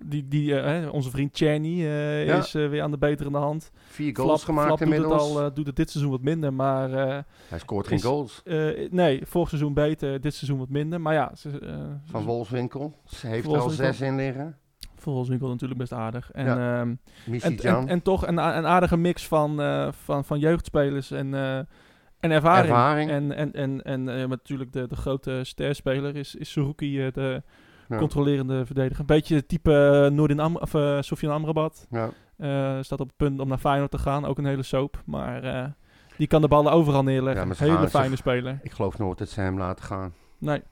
die, die, eh, hè, onze vriend Channy eh, Ja. is eh, weer aan de beterende hand. Vier goals gemaakt Flap doet het, inmiddels. al, eh, doet het dit seizoen wat minder. Maar eh, hij scoort geen is- goals. eh, nee, vorig seizoen beter, dit seizoen wat minder. Maar ja, ze, eh, Van Wolfswinkel. Ze heeft er al Wolfswinkel. zes in liggen. volgens mij wel natuurlijk best aardig. En, Ja. ehm, en, en, Missy-Jan. en toch een, a- een aardige mix van, eh, van, van jeugdspelers en, eh, en ervaring. Ervaring. En, en, en, en eh, natuurlijk de, de grote sterspeler is, is Suruki, eh, de Ja. controlerende verdediger. Een beetje het type uh, Noordin Am of eh, Sofian Amrabat. Ja. Eh, staat op het punt om naar Feyenoord te gaan. Ook een hele soap. Maar eh, die kan de ballen overal Ja, neerleggen. maar ze gaan- hele ze- fijne speler. Ik geloof nooit dat ze hem laten gaan. Nee.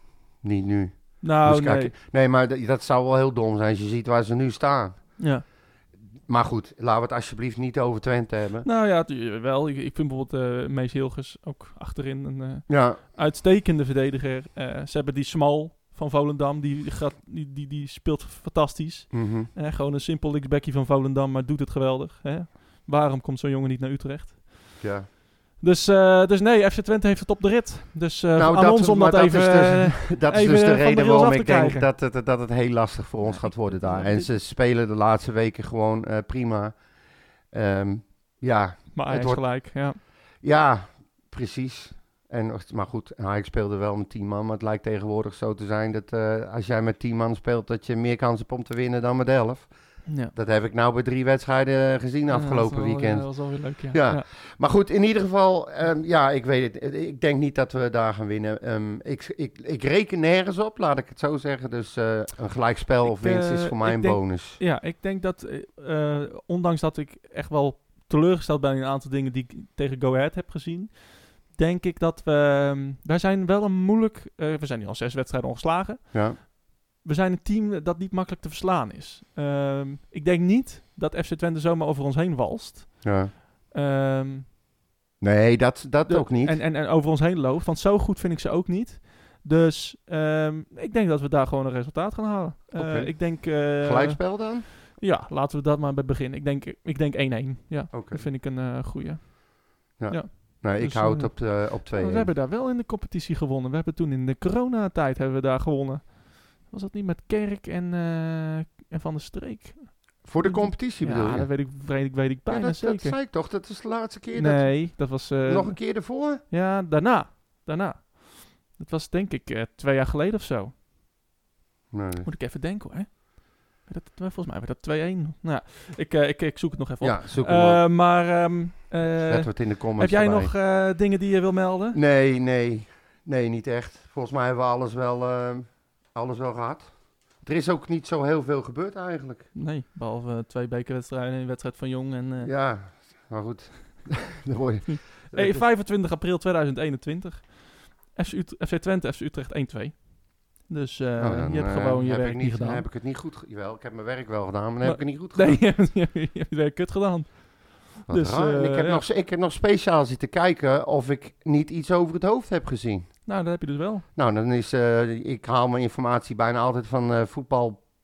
Niet nu. Nou, Dus kijk, nee. nee, maar dat- dat zou wel heel dom zijn als je ziet waar ze nu staan. Ja. Maar goed, laten we het alsjeblieft niet over Twente hebben. Nou ja, tu- wel. Ik, ik vind bijvoorbeeld eh Mees Hilgers ook achterin een eh, Ja, uitstekende verdediger. Eh, ze hebben die Smal van Volendam. Die, gaat, die, die, die speelt fantastisch. mhm. Eh, gewoon een simpel linksbackie van Volendam, maar doet het geweldig. Hè? Waarom komt zo'n jongen niet naar Utrecht? ja. Dus, eh, dus nee, FC Twente heeft het op de rit. Dus eh, Nou, aan dat- ons om maar dat dat even... is dus- eh, Dat is Even dus van de de reden rails waarom af ik te denk krijgen. dat het, dat het heel lastig voor ons gaat worden daar. En ze spelen de laatste weken gewoon eh, prima. Ehm, ja. maar hij is het wordt- gelijk, ja. ja, precies. En, maar goed, Ajax speelde wel met 10 man. Maar het lijkt tegenwoordig zo te zijn dat eh, als jij met 10 man speelt... dat je meer kans hebt om te winnen dan met 11. ja. Dat heb ik nou bij drie wedstrijden eh, gezien afgelopen Ja, dat was wel- weekend. ja, dat was wel weer leuk, ja. Ja. Ja. Maar goed, in ieder geval, ehm, ja, ik weet het. Ik denk niet dat we daar gaan winnen. Ehm, ik, ik, ik reken nergens op, laat ik het zo zeggen. Dus eh, een gelijkspel Ik, of winst is eh, voor mij ik een denk- bonus. Ja, ik denk dat, eh, eh, ondanks dat ik echt wel teleurgesteld ben in een aantal dingen die ik tegen Go Ahead heb gezien, denk ik dat we... ehm, wij zijn wel een moeilijk... eh, we zijn nu al zes wedstrijden ongeslagen. Ja. We zijn een team dat niet makkelijk te verslaan is. Ehm, ik denk niet dat FC Twente zomaar over ons heen walst. Ja. Ehm, Nee, dat, dat De- ook niet. En, en, en over ons heen loopt. Want zo goed vind ik ze ook niet. Dus ehm, ik denk dat we daar gewoon een resultaat gaan halen. Eh, Oké. ik denk... eh, gelijkspel dan? Ja, laten we dat maar bij beginnen. Ik denk, ik denk 1-1. Ja, Oké. dat vind ik een eh goede. Nee, ik dus, hou het eh, op, eh, op We twee. hebben daar wel in de competitie gewonnen. We hebben toen in de coronatijd hebben we daar gewonnen. Was dat niet met Kerk en, eh, en Van der Streek? Voor de competitie bedoel ja, je? dat weet ik, weet ik, weet ik Ja, bijna dat, dat zeker. zei ik toch? Dat is de laatste keer. Dat, nee, dat was... eh, nog een keer ervoor? Ja, daarna. Daarna. Dat was denk ik eh, twee jaar geleden of zo. Nee. Moet ik even denken hoor. Dat, volgens mij werd dat 2-1. Nou, ja, ik, eh, ik, ik zoek het nog even op. Ja, zoek hem op. Eh, maar ehm, eh, Zetten we het in de comments heb jij erbij. nog eh, dingen die je wil melden? Nee, nee. Nee, niet echt. Volgens mij hebben we alles wel, ehm, alles wel gehad. Er is ook niet zo heel veel gebeurd eigenlijk. Nee, behalve eh, twee bekerwedstrijden en een wedstrijd van Jong. En, eh, Ja, maar goed. Dan word je- eh, 25 april 2021. FC, Ut- FC Twente, FC Utrecht 1-2. Dus eh, Nou, dan, je hebt eh, gewoon je heb werk ik niet gedaan. Dan heb ik het niet goed gedaan. Jawel, ik heb mijn werk wel gedaan, maar dan heb Maar- ik het niet goed gedaan. Nee, je hebt, je hebt je werk kut gedaan. Wat dus, raar. En ik, eh, heb ja. nog, ik heb nog speciaal zitten kijken of ik niet iets over het hoofd heb gezien. Nou, dat heb je dus wel. Nou, dan is... eh, ik haal mijn informatie bijna altijd van eh,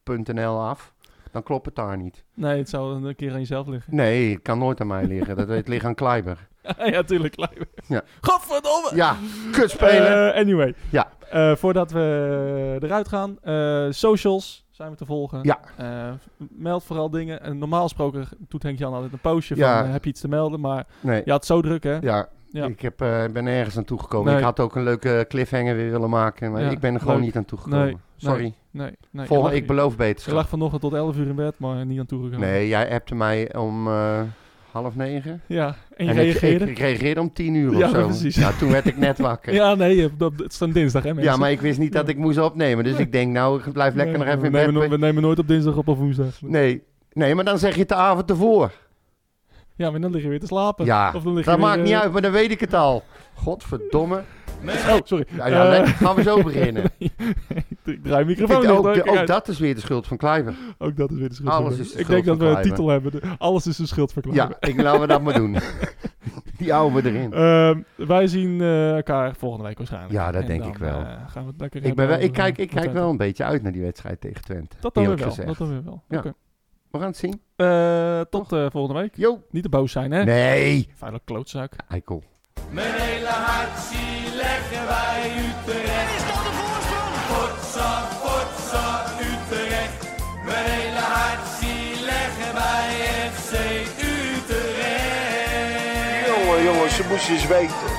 voetbal.nl af. Dan klopt het daar niet. Nee, het zou een keer aan jezelf liggen. Nee, het kan nooit aan mij liggen. Dat, het ligt aan Kleiber. ja, tuurlijk. Leiber. Ja. Godverdomme! Ja, kutspeler. Eh, anyway. Ja. Eh, voordat we eruit gaan, eh, socials zijn we te volgen. Ja. Eh, meld vooral dingen. En normaal gesproken doet Henk Jan altijd een postje Ja. van eh, heb je iets te melden, maar nee. je had zo druk hè? Ja, Ja. ik heb, eh, ben ergens aan toegekomen. Nee. Ik had ook een leuke cliffhanger weer willen maken, maar Ja, ik ben er gewoon leuk. niet aan toegekomen. Nee, Sorry. Nee, nee. Volgende- je lag- ik beloof Je beter. lag vanochtend tot 11 uur in bed, maar niet aan toegegaan. Nee, jij appte mij om eh, half negen. Ja, en je en ik, reageerde. ik, ik reageerde om tien uur Ja, of zo. precies. Ja, toen werd ik net wakker. ja. ja, nee, je- dat, het is dan dinsdag hè mensen? maar ik wist niet dat ik moest opnemen. Dus Nee. ik denk, nou, ik blijf lekker Nee, nog even in we nemen, bed. no- we nemen nooit op dinsdag op of woensdag. Nee. nee, maar dan zeg je het de avond ervoor. Ja, maar dan lig je weer te slapen. Ja, of dan lig je Dat weer, maakt niet eh, uit, maar dan weet ik het al. Godverdomme. Oh, sorry. Nou ja, Eh, lekker. gaan we zo beginnen. ik draai de Ik microfoon denk dicht, ook, hoor. de- Kijk ook uit. dat is weer de schuld van Kluivert. Ook dat is weer de schuld. van Alles Kluivert. is de ik denk schuld dat van we een Kluivert. titel hebben. De- Alles is een schild voor Kluivert. Ja, ik, laten we dat maar doen. Die houden we erin. Ehm, wij zien eh, elkaar volgende week waarschijnlijk. Ja, dat En denk dan, ik wel. eh, gaan we het lekker Ik, ben wel, hebben ik, kijk, over- ik kijk over wel een beetje uit naar die wedstrijd tegen Twente. Dat dan weer eerlijk wel. gezegd. Dat dan weer wel. Ja. Oké. We gaan het zien. Eh, tot eh, volgende week. Jo. Niet te boos zijn, hè? Nee. Vuile klootzak. Eikel. Mijn hele hart zie leggen wij Utrecht. Is dat de voorsprong? Potsa, potsa, Utrecht. Mijn hele hart zie leggen wij FC Utrecht. Jongen, jongen, ze moest je eens weten.